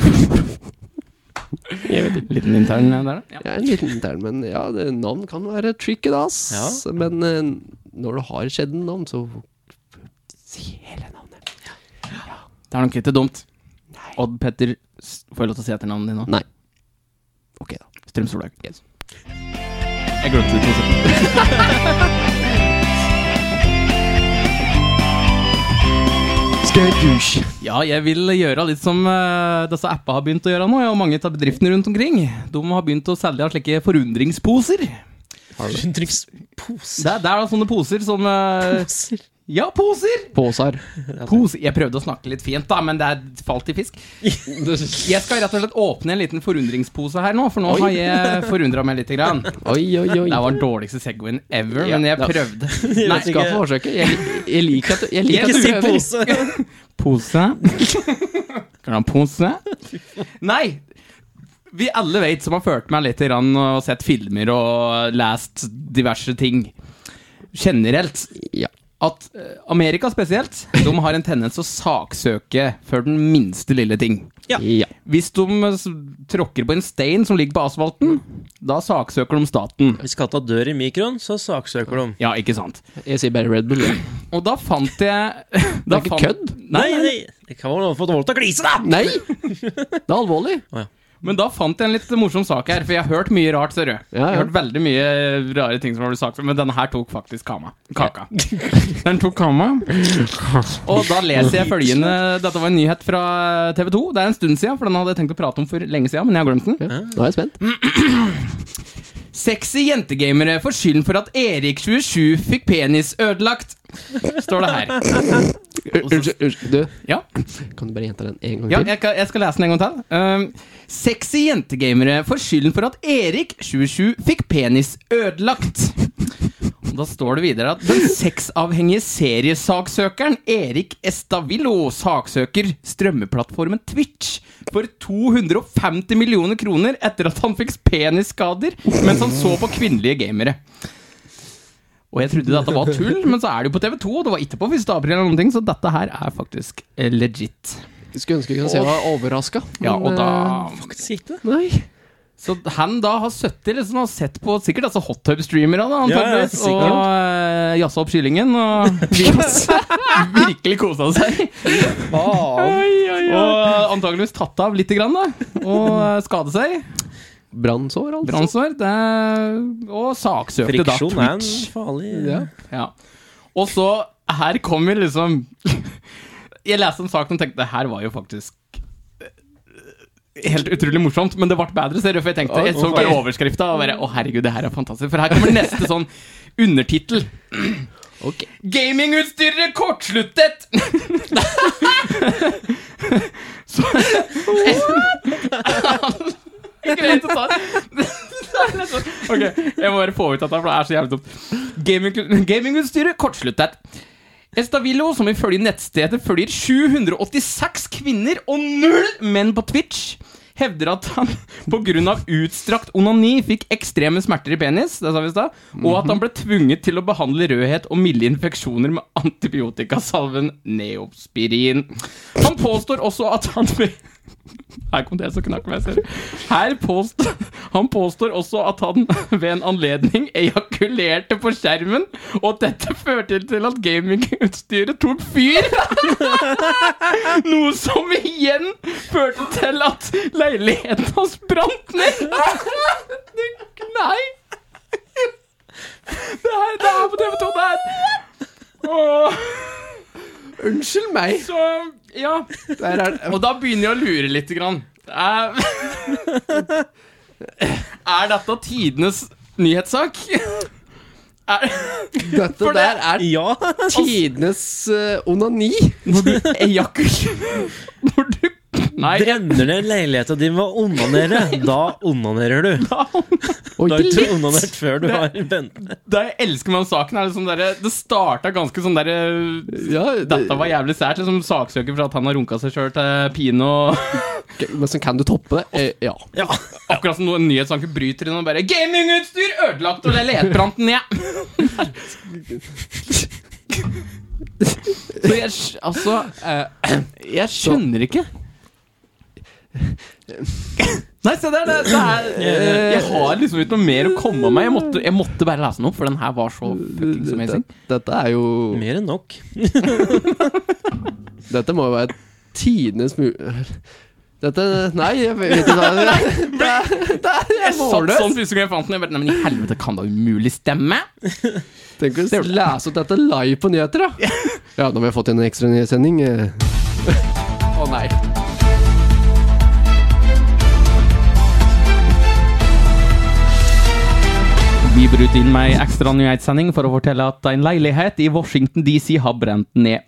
[SPEAKER 3] Liten intern der, da. Ja.
[SPEAKER 2] Jeg er en liten intern, men ja, det, navn kan være tricky, da. ass. Men eh, når du har skjedd en navn, så si hele navnet.
[SPEAKER 3] Det er nok ikke dumt. Odd Petter, s- får jeg lov til å si etternavnet ditt nå?
[SPEAKER 2] Nei. Ok, da.
[SPEAKER 3] Strøm Solhaug.
[SPEAKER 2] Yes.
[SPEAKER 3] Jeg glemte det. konseptet. Ja, jeg vil gjøre litt som eh, disse appa har begynt å gjøre nå, ja, og mange av bedriftene rundt omkring. De har begynt å selge slike forundringsposer.
[SPEAKER 1] Utenriksposer.
[SPEAKER 3] Det, er- det er da sånne poser som eh, Ja, poser!
[SPEAKER 2] Påsar. Altså-
[SPEAKER 3] Pose. Jeg prøvde å snakke litt fint, da, men det er falt i fisk. Jeg skal rett og slett åpne en liten forundringspose her nå, for nå
[SPEAKER 2] Oi.
[SPEAKER 3] har jeg forundra meg lite grann.
[SPEAKER 2] Oi, oi, oi.
[SPEAKER 3] Det var den dårligste Segwayen ever,
[SPEAKER 2] Ja,
[SPEAKER 3] men jeg
[SPEAKER 2] da-
[SPEAKER 3] prøvde.
[SPEAKER 1] Jeg
[SPEAKER 3] Nei,
[SPEAKER 1] vet
[SPEAKER 2] Skal få forsøke. Jeg, jeg liker at du, jeg
[SPEAKER 1] Ikke
[SPEAKER 2] liker at du
[SPEAKER 1] si
[SPEAKER 2] prøver.
[SPEAKER 1] pose!
[SPEAKER 3] Pose. Kan du ha en pose? Nei! Vi alle vet, som har ført meg litt grann, og sett filmer og lest diverse ting generelt,
[SPEAKER 2] Ja.
[SPEAKER 3] at eh, Amerika spesielt, de har en tendens å saksøke for den minste lille ting.
[SPEAKER 2] ja.
[SPEAKER 3] Hvis de eh, s- tråkker på en stein som ligger på asfalten, da saksøker de staten.
[SPEAKER 1] Hvis katta dør i mikroen, så saksøker de.
[SPEAKER 3] Ja, ikke sant?
[SPEAKER 2] Jeg sier bare Red Bull. jeg.
[SPEAKER 3] Og da fant jeg Det
[SPEAKER 2] ikke kødd?
[SPEAKER 1] Nei, nei, det kan være noe for dårlig til å glise, da!
[SPEAKER 2] Nei! Det er alvorlig.
[SPEAKER 3] Men da fant jeg en litt morsom sak her, for jeg har hørt mye rart, ser du. Jeg
[SPEAKER 2] ja.
[SPEAKER 3] har hørt veldig mye rare ting som har blitt sagt, men denne her tok faktisk kama. kaka. Den tok kama. Og da leser jeg følgende Dette var en nyhet fra TV 2. Det er en stund siden, for den hadde jeg tenkt å prate om for lenge siden, men jeg har glemt den.
[SPEAKER 2] Nå er jeg spent.
[SPEAKER 3] Sexy jentegamere får skylden for at Erik27 fikk penis ødelagt, står det her.
[SPEAKER 2] Unnskyld. unnskyld. Du,
[SPEAKER 3] Ja.
[SPEAKER 2] kan du bare gjenta den en gang
[SPEAKER 3] Ja,
[SPEAKER 2] til?
[SPEAKER 3] jeg, kan- jeg skal lese den en gang til. Ehm, sexy jentegamere får skylden for at Erik, 27, fikk penis ødelagt. Og da står det videre at den sexavhengige seriesaksøkeren Erik Estavillo saksøker strømmeplattformen Twitch for 250 millioner kroner etter at han fikk penisskader mens han så på kvinnelige gamere. Og jeg trodde dette var tull, men så er det jo på TV2, og det var ikke på 1. april eller noen ting, så dette her er faktisk eh, legit.
[SPEAKER 2] Skulle ønske jeg kunne si jeg var overraska.
[SPEAKER 3] Ja, og da
[SPEAKER 1] Faktisk ikke.
[SPEAKER 2] Nei.
[SPEAKER 3] Så han da har sittet liksom, og sett på sikkert altså hot tub-streamere, da, antakeligvis,
[SPEAKER 1] Ja, ja, sikkert.
[SPEAKER 3] og uh, jazza opp kyllingen og virkelig kosa seg.
[SPEAKER 1] Faen.
[SPEAKER 3] Og antakeligvis tatt av lite grann, da. Og eh, skadet seg.
[SPEAKER 2] Brannsår, altså.
[SPEAKER 3] Brannsår. det- eh, Og saksøkte da
[SPEAKER 1] Friksjon er en
[SPEAKER 3] Twitch.
[SPEAKER 1] farlig
[SPEAKER 2] Ja.
[SPEAKER 3] Ja. Og så, her kommer liksom Jeg leste en sak og tenkte det her var jo faktisk eh, Helt utrolig morsomt, men det ble bedre, ser du. For jeg tenkte, jeg så bare overskrifta og bare Å, herregud, det her er fantastisk. For her kommer neste sånn undertittel.
[SPEAKER 2] Ok.
[SPEAKER 3] Gamingutstyret kortsluttet! så Greit å ta det. er litt sånn- Ok, jeg må bare få ut dette, for det er så jævlig dumt. Gaming- Gamingutstyret kortsluttet. Estavillo, som ifølge nettstedet følger 786 kvinner og null menn på Twitch, hevder at han pga. utstrakt onani fikk ekstreme smerter i penis, det sa vi i stad, og at han ble tvunget til å behandle rødhet og milde infeksjoner med antibiotikasalven neospirin. Han påstår også at han ved her kom det som knakk meg, ser du. Her påstår, han påstår også at han ved en anledning ejakulerte på skjermen, og at dette førte til at gamingutstyret tok fyr. Noe som igjen førte til at leiligheten hans brant ned. Det- Nei! Det her, det er på TV2, det her. Åh,
[SPEAKER 2] Unnskyld meg!
[SPEAKER 3] så, ja.
[SPEAKER 2] Der er det.
[SPEAKER 3] Og da begynner jeg å lure litt. Grann. Er, er dette tidenes nyhetssak? Er,
[SPEAKER 2] Dette
[SPEAKER 3] For det-
[SPEAKER 2] der er
[SPEAKER 1] Ja!
[SPEAKER 2] tidenes eh, onani.
[SPEAKER 3] når du ejakulerer Når du Nei.
[SPEAKER 1] Brenner ned leiligheta di med å onanere. Da onanerer du.
[SPEAKER 2] Og
[SPEAKER 1] Du har
[SPEAKER 2] ikke
[SPEAKER 1] ikke
[SPEAKER 2] litt.
[SPEAKER 1] onanert før du
[SPEAKER 3] Det-
[SPEAKER 1] har bent.
[SPEAKER 3] Det jeg elsker med den saken, er liksom derre Det starta ganske sånn derre
[SPEAKER 2] Ja,
[SPEAKER 3] Dette var jævlig sært. liksom Saksøker for at han har runka seg sjøl til pine og
[SPEAKER 2] Men så kan du toppe det? Eh, ja.
[SPEAKER 1] Ja.
[SPEAKER 3] Akkurat som noen nyhetssanker bryter inn og bare 'Gamingutstyr ødelagt, og leilighetsbrant ned'. Så jeg skj- Altså eh, Jeg skjønner ikke. Nei, se der. Det, det er, eh, jeg har liksom ikke noe mer å komme med. Jeg måtte, jeg måtte bare lese den opp, for den her var så fuckings amazing.
[SPEAKER 2] Dette, dette er jo
[SPEAKER 1] Mer enn nok.
[SPEAKER 2] Dette må jo være tidenes mul... Dette Nei, jeg vet ikke hva det er. Det er
[SPEAKER 3] Jeg satt
[SPEAKER 2] målløs.
[SPEAKER 3] sånn første gang jeg fant den. Jeg bare, Nei, men i helvete, kan det umulig stemme?
[SPEAKER 2] Tenk å lese opp dette live på nyheter, da. Ja, nå har vi fått en ekstra nyhetssending. eh.
[SPEAKER 3] Å nei. Vi brøt inn med en ekstra nyhetssending for å fortelle at en leilighet i Washington DC har brent ned.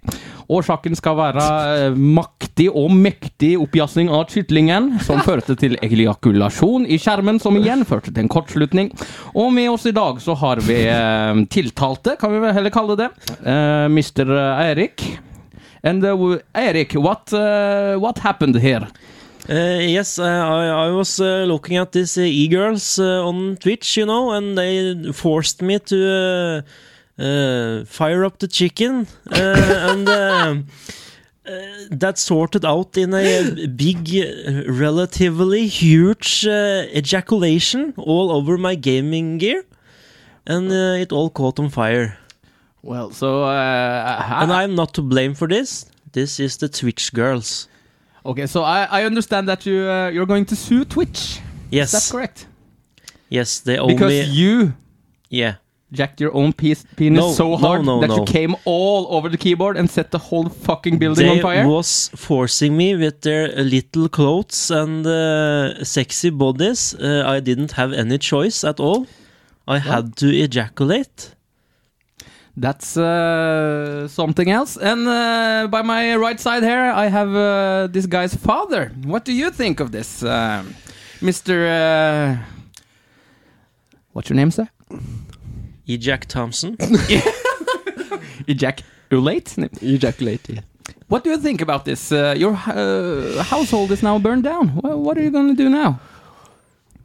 [SPEAKER 3] Årsaken skal være eh, maktig og mektig oppjassing av kyllingen, som førte til ejakulasjon i skjermen, som igjen førte til en kortslutning. Og med oss i dag så har vi eh, tiltalte, kan vi vel heller kalle det, eh, Mr. Eirik. And uh, w- Eirik, what, uh, what happened here?
[SPEAKER 1] Uh, yes, uh, I, I was uh, looking at these uh, e-girls uh, on Twitch, you know, and they forced me to uh, uh, fire up the chicken, uh, and uh, uh, that sorted out in a eh, big, uh, relatively huge uh, ejaculation all over my gaming gear, and uh, it all caught on fire.
[SPEAKER 3] Well, so uh,
[SPEAKER 1] And
[SPEAKER 3] I,
[SPEAKER 1] I'm not to blame for this. This is the Twitch girls.
[SPEAKER 3] okay, so I, I understand that you uh, you're going to sue Twitch. Is that
[SPEAKER 1] Yes,
[SPEAKER 3] correct?
[SPEAKER 1] yes, they owe
[SPEAKER 3] Because
[SPEAKER 1] me.
[SPEAKER 3] you
[SPEAKER 1] Yeah.
[SPEAKER 3] jacked your own piece, penis
[SPEAKER 1] No,
[SPEAKER 3] so
[SPEAKER 1] no,
[SPEAKER 3] hard
[SPEAKER 1] no,
[SPEAKER 3] that you
[SPEAKER 1] no.
[SPEAKER 3] came all over the keyboard and set the whole fucking building
[SPEAKER 1] they
[SPEAKER 3] on fire.
[SPEAKER 1] was forcing me with their little clothes and uh, sexy bodies. Uh, I didn't have any choice at all. I had to ejaculate.
[SPEAKER 3] That's uh, something else. And uh, by my right side here, I have uh, this guy's father. What do you think of this, um, Mister? Uh, what's your name, sir?
[SPEAKER 1] E. Jack Thompson.
[SPEAKER 3] Ejaculate.
[SPEAKER 2] Ejaculate.
[SPEAKER 3] What do you think about this? Uh, your uh, household is now burned down. Well, what are you going to do now?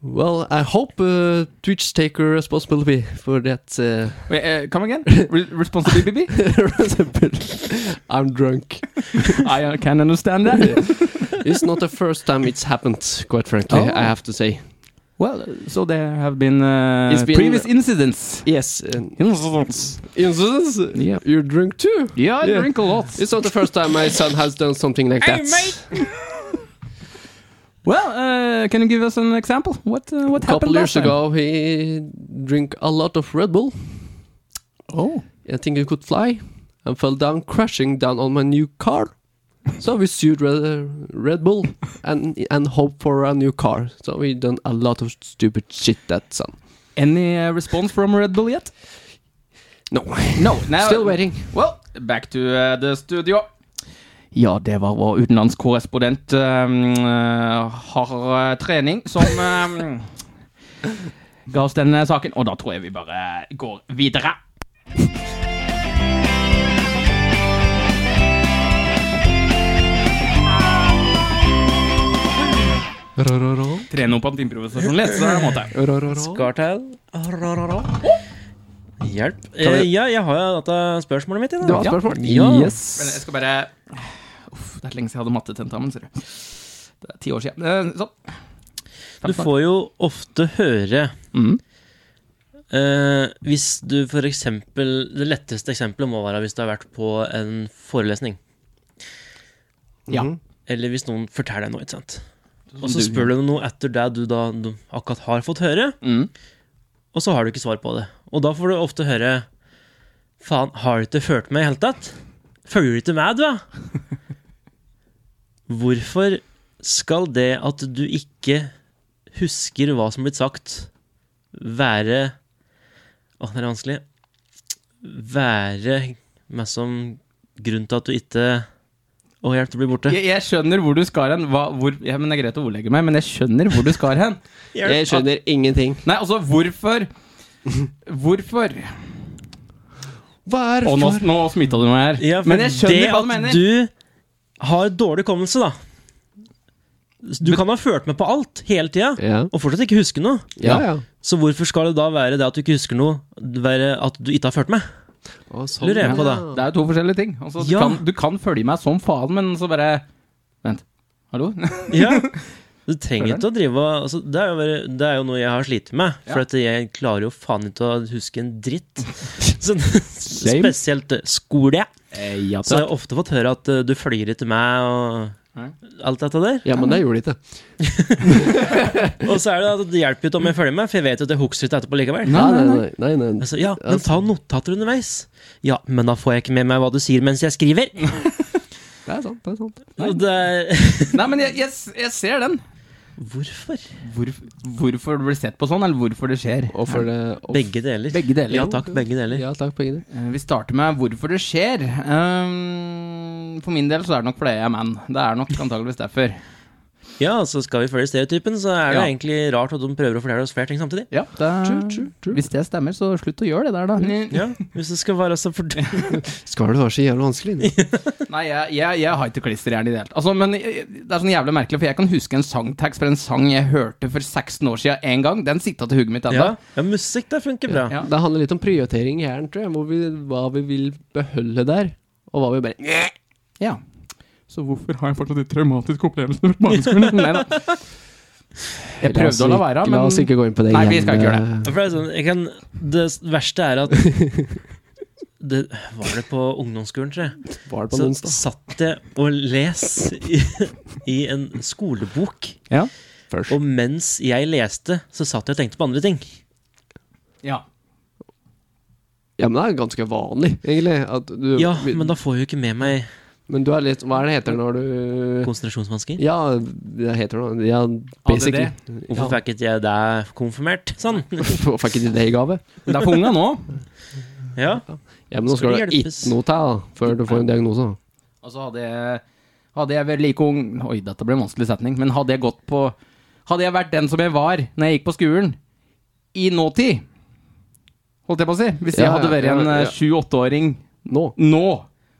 [SPEAKER 2] Well, I hope uh, Twitch take your responsibility for that. Uh,
[SPEAKER 3] Wait, uh, come again? Re- responsibility?
[SPEAKER 2] I'm drunk.
[SPEAKER 3] I uh, can understand that.
[SPEAKER 2] It's not the first time it's happened, quite frankly,
[SPEAKER 3] Oh.
[SPEAKER 2] I have to say.
[SPEAKER 3] Well, uh, so there have been, uh,
[SPEAKER 2] It's been-
[SPEAKER 3] previous incidents.
[SPEAKER 2] Yes. And
[SPEAKER 3] Incidents. Yeah.
[SPEAKER 2] You're drunk too?
[SPEAKER 3] Yeah, I
[SPEAKER 2] Yeah.
[SPEAKER 3] drink a lot.
[SPEAKER 2] It's not the first time my son has done something like
[SPEAKER 3] Hey,
[SPEAKER 2] that.
[SPEAKER 3] mate! Well, uh, can you give us an example? What uh, what
[SPEAKER 2] A
[SPEAKER 3] happened
[SPEAKER 2] couple
[SPEAKER 3] last
[SPEAKER 2] years
[SPEAKER 3] time?
[SPEAKER 2] ago, he drank a lot of Red Bull.
[SPEAKER 3] Oh,
[SPEAKER 2] I think he could fly and fell down, crashing down on my new car. So we sued Red, uh, Red Bull and and hope for a new car. So we done a lot of stupid shit that son.
[SPEAKER 3] any uh, response from Red Bull yet?
[SPEAKER 2] No,
[SPEAKER 3] No, now,
[SPEAKER 2] still waiting.
[SPEAKER 3] Well, back to uh, the studio. Ja, det var vår utenlandskorrespondent um, uh, Har uh, Trening som um, ga oss uh, denne saken. Og da tror jeg vi bare går videre. trene opp hans improvisasjon litt. Så det er en måte.
[SPEAKER 2] Rororo.
[SPEAKER 1] Scartail. Rarara. Hjelp.
[SPEAKER 2] Kan
[SPEAKER 1] Eh,
[SPEAKER 2] vi-
[SPEAKER 1] ja, jeg har jo dette spørsmålet mitt i
[SPEAKER 2] Det var
[SPEAKER 1] dag.
[SPEAKER 2] et spørsmål.
[SPEAKER 1] Ja.
[SPEAKER 2] Yes.
[SPEAKER 3] Men jeg skal bare Uff, det er lenge siden jeg hadde mattetentamen, ser du. Det er ti år siden. Eh, Sånn.
[SPEAKER 1] Du får jo ofte høre
[SPEAKER 3] Mhm.
[SPEAKER 1] eh, hvis du for eksempel Det letteste eksempelet må være hvis du har vært på en forelesning.
[SPEAKER 3] Ja.
[SPEAKER 2] Mhm.
[SPEAKER 1] Eller hvis noen forteller deg noe, ikke sant. Og
[SPEAKER 3] Du-
[SPEAKER 1] så spør du om noe etter det du da du akkurat har fått høre,
[SPEAKER 3] Mhm.
[SPEAKER 1] og så har du ikke svar på det. Og da får du ofte høre Faen, har du ikke ført meg i hele tatt? Følger du ikke med, du, da? Hvorfor skal det at du ikke husker hva som blitt sagt, være Å, det er vanskelig. Være med som grunn til at du ikke Å, hjelp, du blir borte.
[SPEAKER 3] Jeg, jeg skjønner hvor du skal hen. Hva, hvor, ja, men det er greit å ordlegge meg, men jeg skjønner hvor du skal hen.
[SPEAKER 2] Jeg skjønner ingenting.
[SPEAKER 3] Nei, altså, hvorfor Hvorfor? Og nå,
[SPEAKER 2] Hvorfor?
[SPEAKER 3] nå smitta du meg her.
[SPEAKER 1] Ja, for
[SPEAKER 3] men jeg skjønner hva du mener.
[SPEAKER 1] Det at du har dårlig hukommelse, da. Du kan ha ført med på alt hele tida,
[SPEAKER 2] Ja,
[SPEAKER 1] og fortsatt ikke huske noe.
[SPEAKER 2] ja. ja.
[SPEAKER 1] Så hvorfor skal det da være det at du ikke husker noe, være at du ikke har ført med?
[SPEAKER 2] Å, sånn,
[SPEAKER 1] Lurer jeg på
[SPEAKER 2] ja.
[SPEAKER 3] Det er jo to forskjellige ting. Altså, du,
[SPEAKER 1] Ja.
[SPEAKER 3] kan, du kan følge meg som faen, men så bare Vent. Hallo?
[SPEAKER 1] Ja. Du trenger
[SPEAKER 3] Føler
[SPEAKER 1] ikke å drive og- altså, det, er jo bare, det er jo noe jeg har slitt med. For
[SPEAKER 3] Ja.
[SPEAKER 1] at jeg klarer jo faen ikke å huske en dritt. Så,
[SPEAKER 3] Same.
[SPEAKER 1] spesielt skole.
[SPEAKER 3] Eh, ja,
[SPEAKER 1] Så jeg har ofte fått høre at eh, du følger ikke med
[SPEAKER 3] Nei.
[SPEAKER 1] og alt dette der.
[SPEAKER 2] Ja, men det gjorde de ikke.
[SPEAKER 1] Og så er det at det hjelper jo ikke om jeg følger med, for jeg vet jo at jeg husker ikke etterpå likevel.
[SPEAKER 3] Nei, nei, nei.
[SPEAKER 2] nei, nei, nei.
[SPEAKER 1] Altså, ja, men ta notater underveis. Ja, men da får jeg ikke med meg hva du sier mens jeg skriver.
[SPEAKER 2] Det er sant. det er sant
[SPEAKER 1] Og det er
[SPEAKER 3] nei, men jeg, jeg, jeg ser den.
[SPEAKER 1] Hvorfor?
[SPEAKER 3] Hvorf- hvorfor det blir sett på sånn, eller hvorfor det skjer.
[SPEAKER 2] Og for det og
[SPEAKER 1] Begge deler.
[SPEAKER 3] Begge deler.
[SPEAKER 1] Ja takk, begge deler.
[SPEAKER 2] Ja, takk, begge deler.
[SPEAKER 3] Eh, Vi starter med hvorfor det skjer. Ehm, for min del så er det nok fordi jeg er man. Det er nok antageligvis derfor.
[SPEAKER 1] Ja, så skal vi følge stereotypen, så er det
[SPEAKER 3] Ja.
[SPEAKER 1] egentlig rart at de prøver å fortelle oss flere ting samtidig.
[SPEAKER 3] Ja, det er,
[SPEAKER 2] True, true, true.
[SPEAKER 3] Hvis det stemmer, så slutt å gjøre det der, da.
[SPEAKER 1] Ja, hvis det skal være så fort...
[SPEAKER 2] Skal det være så jævlig vanskelig?
[SPEAKER 3] Nei, jeg, jeg, jeg har ikke klisterhjerne i det hele tatt. Altså, men jeg- det er sånn jævlig merkelig, for jeg kan huske en sangtekst fra en sang jeg hørte for 16 år siden en gang. Den sitter til hugget mitt
[SPEAKER 1] Ja,
[SPEAKER 3] ennå.
[SPEAKER 1] ja musikk, det funker bra.
[SPEAKER 3] Ja.
[SPEAKER 2] Det handler litt om prioritering i hjernen, tror jeg. Hvor vi, hva vi vil beholde der, og hva vi bare
[SPEAKER 3] Ja. Så hvorfor har jeg fortsatt de traumatiske opplevelsene fra barneskolen? Nei da. Jeg
[SPEAKER 2] La oss
[SPEAKER 3] prøvde å la være,
[SPEAKER 2] ikke-
[SPEAKER 3] men
[SPEAKER 2] La oss ikke gå inn på det
[SPEAKER 3] Nei,
[SPEAKER 2] igjen. eh,
[SPEAKER 3] vi skal ikke gjøre
[SPEAKER 1] For det, er sånn, jeg kan, det verste er at det, Var det på ungdomsskolen, tror jeg?
[SPEAKER 2] Var det på en
[SPEAKER 1] Så
[SPEAKER 2] onsdag?
[SPEAKER 1] satt jeg og les i, i en skolebok,
[SPEAKER 3] Ja.
[SPEAKER 2] Først.
[SPEAKER 1] og mens jeg leste, så satt jeg og tenkte på andre ting.
[SPEAKER 3] ja.
[SPEAKER 2] Ja, men det er ganske vanlig, egentlig. At du,
[SPEAKER 1] Ja, men da får jeg jo ikke med meg
[SPEAKER 2] men du er litt Hva er det heter når du
[SPEAKER 1] konsentrasjonsvansker.
[SPEAKER 2] Ja, det heter noe Ja, basically.
[SPEAKER 1] Hvorfor fikk ikke jeg det konfirmert? Sånn.
[SPEAKER 2] Fikk ikke det i gave?
[SPEAKER 3] Det er for unga nå.
[SPEAKER 1] Ja.
[SPEAKER 2] Ja, men nå
[SPEAKER 1] Skal det
[SPEAKER 2] skal det ikke
[SPEAKER 1] hjelpes?
[SPEAKER 2] noe til da, før du får en diagnose.
[SPEAKER 3] Og så hadde jeg, hadde jeg vært like ung Oi, dette ble en vanskelig setning. Men hadde jeg gått på Hadde jeg vært den som jeg var Når jeg gikk på skolen, i nåtid Holdt jeg på å si. Hvis jeg
[SPEAKER 2] Ja,
[SPEAKER 3] hadde
[SPEAKER 2] ja,
[SPEAKER 3] vært
[SPEAKER 2] ja,
[SPEAKER 3] en
[SPEAKER 2] ja.
[SPEAKER 3] eh, sju-åtteåring
[SPEAKER 2] Nå.
[SPEAKER 3] nå,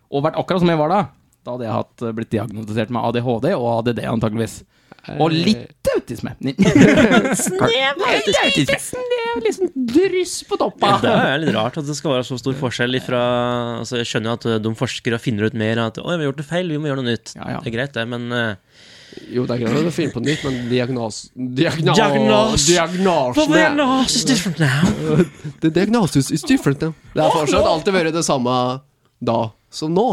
[SPEAKER 3] og vært akkurat som jeg var da, da hadde jeg hatt, eh, blitt diagnostisert med ADHD og ADD, antageligvis. Og
[SPEAKER 2] Eh.
[SPEAKER 3] litt autisme. Snev autisme.
[SPEAKER 2] Snev,
[SPEAKER 3] sånn
[SPEAKER 2] liksom dryss på toppa.
[SPEAKER 1] Det er litt rart at det skal være så stor forskjell ifra altså Jeg skjønner jo at de forsker og finner ut mer at 'Å, vi har gjort det feil, vi må gjøre noe nytt'.
[SPEAKER 3] Ja, ja.
[SPEAKER 1] Det er greit, det, men eh,
[SPEAKER 2] Jo, det er greit å finne på nytt, men diagnos... Diagno...
[SPEAKER 1] Diagnos.
[SPEAKER 2] Diagnosene
[SPEAKER 1] It's different now.
[SPEAKER 2] The diagnosis is different now. Det har fortsatt alltid vært det samme da som nå.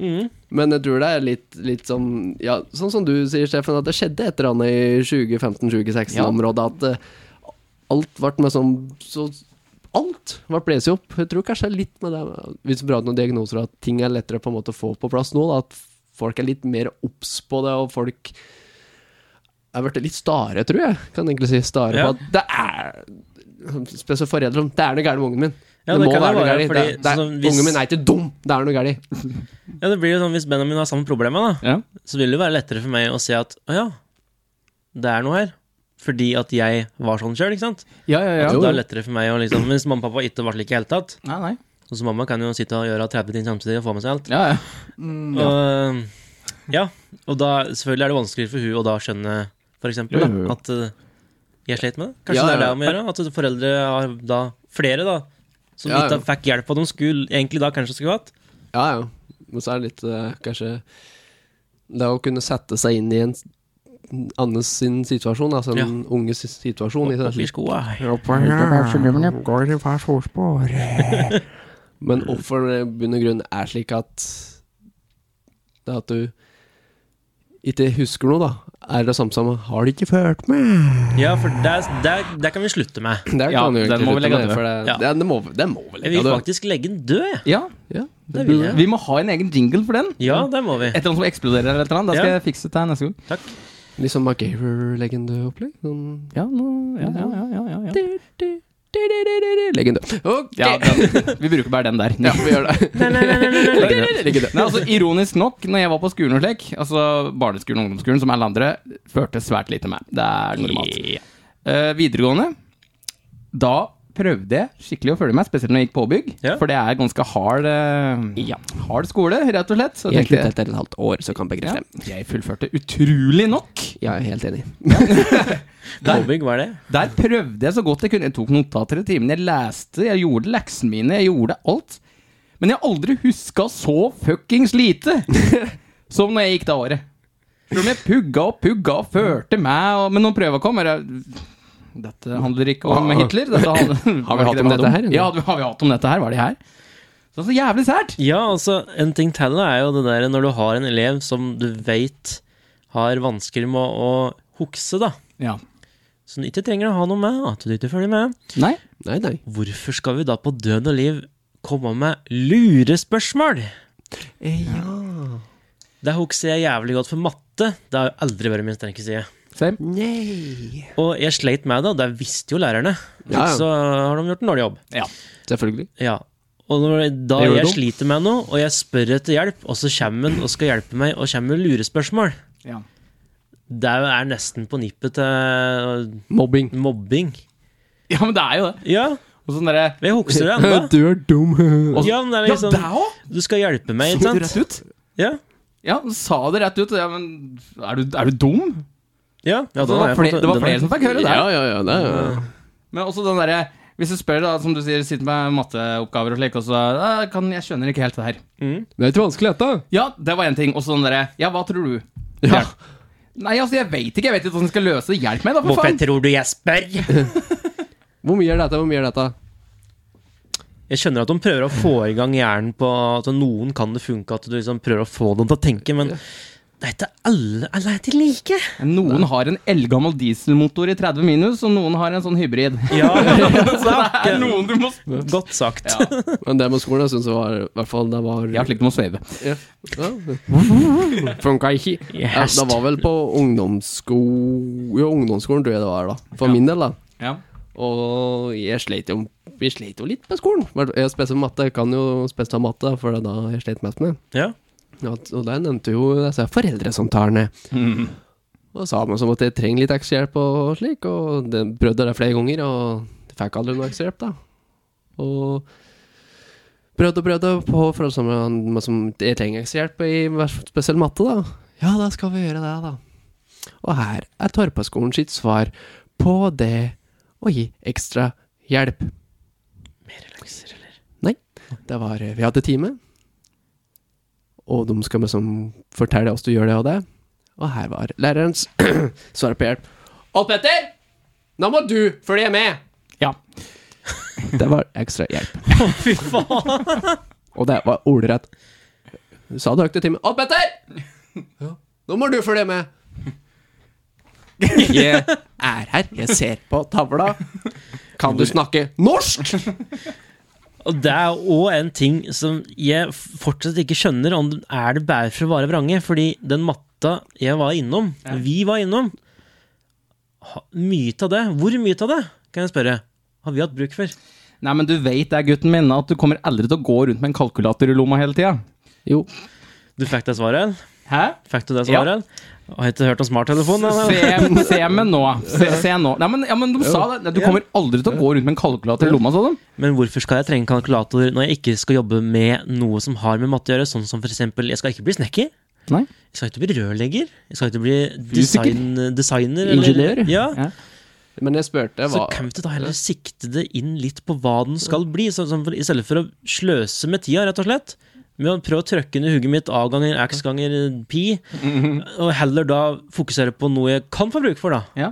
[SPEAKER 1] Mhm.
[SPEAKER 2] Men jeg tror det er litt, litt som ja, Sånn som du sier, Steffen, at det skjedde et eller annet i 2015-2016-området. At eh, alt ble med sånn så, Alt ble blåst opp. Jeg tror kanskje det er litt med det Hvis du prater noen diagnoser, at ting er lettere på en måte å få på plass nå. Da, at folk er litt mer obs på det, og folk er blitt litt stare, tror jeg. Kan egentlig si stare
[SPEAKER 1] Ja.
[SPEAKER 2] på at det er Spesielt foreldre. Det er noe gærent med ungen min.
[SPEAKER 1] Ja,
[SPEAKER 2] det,
[SPEAKER 1] det
[SPEAKER 2] må
[SPEAKER 1] kan
[SPEAKER 2] være
[SPEAKER 1] det
[SPEAKER 2] noe
[SPEAKER 1] være,
[SPEAKER 2] gærent.
[SPEAKER 1] fordi
[SPEAKER 2] Det er-
[SPEAKER 1] sånn hvis-
[SPEAKER 2] Ungen min er ikke dum! Det er noe gærent.
[SPEAKER 1] Ja, det blir jo sånn Hvis Benjamin har samme problemet, da,
[SPEAKER 3] Ja.
[SPEAKER 1] så vil det jo være lettere for meg å si at 'Å ja, det er noe her'. Fordi at jeg var sånn sjøl, ikke sant?
[SPEAKER 3] ja, ja, ja.
[SPEAKER 1] Så
[SPEAKER 2] Jo,
[SPEAKER 1] det er
[SPEAKER 2] jo.
[SPEAKER 1] lettere for meg å liksom Hvis mamma og pappa ikke var slik i det hele tatt
[SPEAKER 3] Nei, nei.
[SPEAKER 1] Sånn som mamma kan jo sitte og gjøre 30 ting samtidig og få med seg alt.
[SPEAKER 3] Ja, ja.
[SPEAKER 1] Og, ja, og da selvfølgelig er det vanskeligere for hun å da skjønne for eksempel. Da.
[SPEAKER 3] Jo, jo, jo.
[SPEAKER 1] At eh, jeg slet med det. Kanskje
[SPEAKER 2] Ja,
[SPEAKER 1] det er
[SPEAKER 2] ja.
[SPEAKER 1] det om å gjøre? At foreldre har da flere, da, som
[SPEAKER 2] Ja,
[SPEAKER 1] ikke
[SPEAKER 2] ja.
[SPEAKER 1] fikk hjelp av de skulle, egentlig da kanskje skulle hatt.
[SPEAKER 2] Ja, ja. Men så er det litt eh, kanskje Det å kunne sette seg inn i en s- andres sin situasjon, altså en
[SPEAKER 1] Ja.
[SPEAKER 2] unges situasjon. i det
[SPEAKER 1] Oppi skoa.
[SPEAKER 2] Men hvorfor det i bunn og grunn er slik at Det at du ikke husker noe, da, er det samme som 'har du ikke ført med'?
[SPEAKER 1] Ja, for det, er- det, er- det kan vi slutte med.
[SPEAKER 2] Det
[SPEAKER 3] Ja,
[SPEAKER 2] kan du jo
[SPEAKER 3] den
[SPEAKER 2] egentlig
[SPEAKER 3] må vi
[SPEAKER 2] slutte
[SPEAKER 3] legge
[SPEAKER 2] med,
[SPEAKER 3] død.
[SPEAKER 2] for det-
[SPEAKER 1] Ja.
[SPEAKER 2] det- det må vi- Det må vi
[SPEAKER 1] Jeg vil
[SPEAKER 2] legge død.
[SPEAKER 1] faktisk legge den død, jeg.
[SPEAKER 3] Ja,
[SPEAKER 2] Ja,
[SPEAKER 1] Det vil jeg.
[SPEAKER 3] vi må ha en egen jingle for den.
[SPEAKER 1] Ja, det må vi.
[SPEAKER 3] Et eller annet som eksploderer eller et eller annet. Da skal
[SPEAKER 1] Ja.
[SPEAKER 3] jeg fikse det til neste gang.
[SPEAKER 1] Takk.
[SPEAKER 2] Litt sånn MacGaver-legendeopplegg. Sånn
[SPEAKER 3] Ja, nå- ja, ja, ja, ja, ja, ja.
[SPEAKER 2] Legende. Ok!
[SPEAKER 3] ja den, vi bruker bare den der.
[SPEAKER 2] Ja, vi gjør det.
[SPEAKER 3] Nei, altså Ironisk nok, når jeg var på skolen og slik, altså barneskolen og ungdomsskolen, som alle andre, førte svært lite med. Det er normalt. Eh, videregående, da prøvde jeg skikkelig å følge med, spesielt når jeg gikk påbygg.
[SPEAKER 1] Ja.
[SPEAKER 3] For det er ganske hard, eh, hard skole, rett og slett. Så
[SPEAKER 2] Helt
[SPEAKER 3] tenkte
[SPEAKER 2] ut
[SPEAKER 3] jeg,
[SPEAKER 2] etter et halvt år, så kan begge
[SPEAKER 3] ja,
[SPEAKER 2] frem.
[SPEAKER 3] jeg fullførte utrolig nok.
[SPEAKER 2] Ja, jeg er helt enig.
[SPEAKER 3] Der,
[SPEAKER 1] Påbygg, hva er det?
[SPEAKER 3] der prøvde jeg så godt jeg kunne. Jeg tok notater i timen, jeg leste, jeg gjorde leksene mine, jeg gjorde alt. Men jeg har aldri huska så fuckings lite som når jeg gikk det året. Selv om jeg pugga og pugga og førte meg, og, men når prøva kom er det, Dette handler ikke om Hitler. Dette handler,
[SPEAKER 2] Ah. Har vi hatt om dette her, eller?
[SPEAKER 3] Ja, har vi hatt om dette her? Var det her? Så, så jævlig sært!
[SPEAKER 1] Ja, altså, en ting til er jo det der når du har en elev som du veit har vansker med å hukse, da.
[SPEAKER 3] Ja.
[SPEAKER 1] Som du ikke trenger å ha noe med, at du ikke følger med.
[SPEAKER 3] Nei?
[SPEAKER 2] Nei, nei.
[SPEAKER 1] Hvorfor skal vi da på død og liv komme med lurespørsmål?
[SPEAKER 2] Ja.
[SPEAKER 1] Det hukser jeg jævlig godt for matte. Det har jo aldri vært min sterke side.
[SPEAKER 3] Same.
[SPEAKER 2] Mm. Nei.
[SPEAKER 1] Og jeg sleit med det, og det visste jo lærerne.
[SPEAKER 2] Ja, ja.
[SPEAKER 1] Så har de gjort en dårlig jobb.
[SPEAKER 3] Ja.
[SPEAKER 2] Selvfølgelig.
[SPEAKER 1] Ja. Og når jeg- da
[SPEAKER 3] Det gjorde
[SPEAKER 1] jeg
[SPEAKER 3] de.
[SPEAKER 1] sliter med noe, og jeg spør etter hjelp, og så kommer han og skal hjelpe meg, og kommer med lurespørsmål,
[SPEAKER 3] ja.
[SPEAKER 1] det er nesten på nippet til
[SPEAKER 2] Mobbing.
[SPEAKER 1] mobbing.
[SPEAKER 3] Ja, men det er jo det.
[SPEAKER 1] Ja,
[SPEAKER 3] Og sånn derre
[SPEAKER 1] jeg hukser det ennå.
[SPEAKER 2] Du er dum.
[SPEAKER 1] Ja, men det er
[SPEAKER 3] Ja,
[SPEAKER 1] liksom-
[SPEAKER 3] det òg!
[SPEAKER 1] Du skal hjelpe meg,
[SPEAKER 3] Så du
[SPEAKER 1] ikke
[SPEAKER 3] rett
[SPEAKER 1] sant?
[SPEAKER 3] ut?
[SPEAKER 1] Ja.
[SPEAKER 3] Ja, sa det rett ut. Ja, men er du, er du dum?
[SPEAKER 1] Ja, ja, den har
[SPEAKER 3] det var,
[SPEAKER 1] jeg
[SPEAKER 3] flere,
[SPEAKER 1] fått-
[SPEAKER 3] det var
[SPEAKER 1] den har-
[SPEAKER 3] flere som fikk høre det.
[SPEAKER 2] Ja, ja, ja. Det er jo
[SPEAKER 3] Men også den derre Hvis du spør, da, som du sier, sitter med matteoppgaver og slik, og så «Ah, kan, Jeg skjønner ikke helt det her.
[SPEAKER 1] Mm.
[SPEAKER 2] Det er ikke vanskelig, dette.
[SPEAKER 3] Ja, det var én ting. Og så den derre Ja, hva tror du?
[SPEAKER 2] Ja.
[SPEAKER 3] Nei, altså, jeg veit ikke. Jeg vet ikke hvordan jeg skal løse det. Hjelp meg, da, for
[SPEAKER 1] Hvorfor
[SPEAKER 3] faen!
[SPEAKER 1] tror du jeg spør?
[SPEAKER 2] Hvor mye er dette? Hvor mye er dette?
[SPEAKER 1] Jeg skjønner at de prøver å få i gang hjernen på at noen kan det funke, at du liksom prøver å få dem til å tenke, men det er ikke alle alle er ikke like.
[SPEAKER 3] Noen har en eldgammel dieselmotor i 30 minus, og noen har en sånn hybrid.
[SPEAKER 1] Ja,
[SPEAKER 3] Så det er noen du må s-
[SPEAKER 1] godt sagt.
[SPEAKER 3] Ja.
[SPEAKER 2] Men det med skolen, jeg syns det var i hvert fall det var
[SPEAKER 3] Ja, slik du må sveive.
[SPEAKER 2] Ja. Funka ikke. Ja,
[SPEAKER 1] Yes.
[SPEAKER 2] det var vel på ungdomssko... Jo, ungdomsskolen tror jeg det var, da. For
[SPEAKER 3] Ja.
[SPEAKER 2] min del, da.
[SPEAKER 3] Ja.
[SPEAKER 2] Og jeg slet jo Vi slet jo litt med skolen. Hvert- Jeg spesielt matte. Jeg kan jo spesielt ha matte, for det er da jeg slet mest med.
[SPEAKER 1] Ja.
[SPEAKER 2] Ja, og der nevnte jo disse foreldresamtalene. Og sa man som at jeg trenger litt ekstrahjelp og slik, og det prøvde det flere ganger, og det fikk aldri noe ekstrahjelp, da. Og prøvde og prøvde på forhold som men som jeg trenger ekstrahjelp i hver- spesiell matte, da. Ja, da skal vi gjøre det, da. Og her er Torpaskolen sitt svar på det å gi ekstra hjelp. Nei, det var eh, Vi hadde time. Og de skal liksom fortelle oss du gjør det og det. Og her var lærerens svar på hjelp. Opp etter! Nå må du følge med!
[SPEAKER 3] ja.
[SPEAKER 2] Det var ekstra hjelp.
[SPEAKER 1] Fy faen!
[SPEAKER 2] Og det var ordrett. Sa du høyt i timen 'Opp etter!' Ja. Nå må du følge med! Jeg er her, jeg ser på tavla. Kan du snakke norsk?!
[SPEAKER 1] Og det er òg en ting som jeg fortsatt ikke skjønner om det er det bare for å være vrange. Fordi den matta jeg var innom, vi var innom ha- Mye av det. Hvor mye av det, kan jeg spørre, har vi hatt bruk for?
[SPEAKER 3] Nei, men du veit det, gutten min, at du kommer aldri til å gå rundt med en kalkulator i lomma hele tida.
[SPEAKER 2] Jo.
[SPEAKER 1] Du fikk det svaret?
[SPEAKER 3] Hæ?
[SPEAKER 1] Fikk du det svaret? Og har ikke hørt om smarttelefon? eller?
[SPEAKER 3] Se, se meg nå. Se, se nå. Nei, men, ja, men de sa det. Du kommer aldri til å gå rundt med en kalkulator i lomma, sa de.
[SPEAKER 1] Men hvorfor skal jeg trenge kalkulator når jeg ikke skal jobbe med noe som har med matte å gjøre? Sånn som for eksempel, jeg skal ikke bli snekker.
[SPEAKER 3] Nei.
[SPEAKER 1] Jeg skal ikke bli rørlegger. Jeg skal ikke bli
[SPEAKER 3] Fysiker.
[SPEAKER 1] design, designer. eller-
[SPEAKER 2] Ingeniør.
[SPEAKER 1] Ja.
[SPEAKER 2] Men jeg spurte
[SPEAKER 1] Så
[SPEAKER 2] hva
[SPEAKER 1] kan vi ikke da heller sikte det inn litt på hva den skal bli, så, sånn for, i stedet for å sløse med tida, rett og slett. Med å prøve å trøkke inn i hugget mitt A ganger X ganger pi, og heller da fokusere på noe jeg kan få bruk for, da.
[SPEAKER 3] Ja.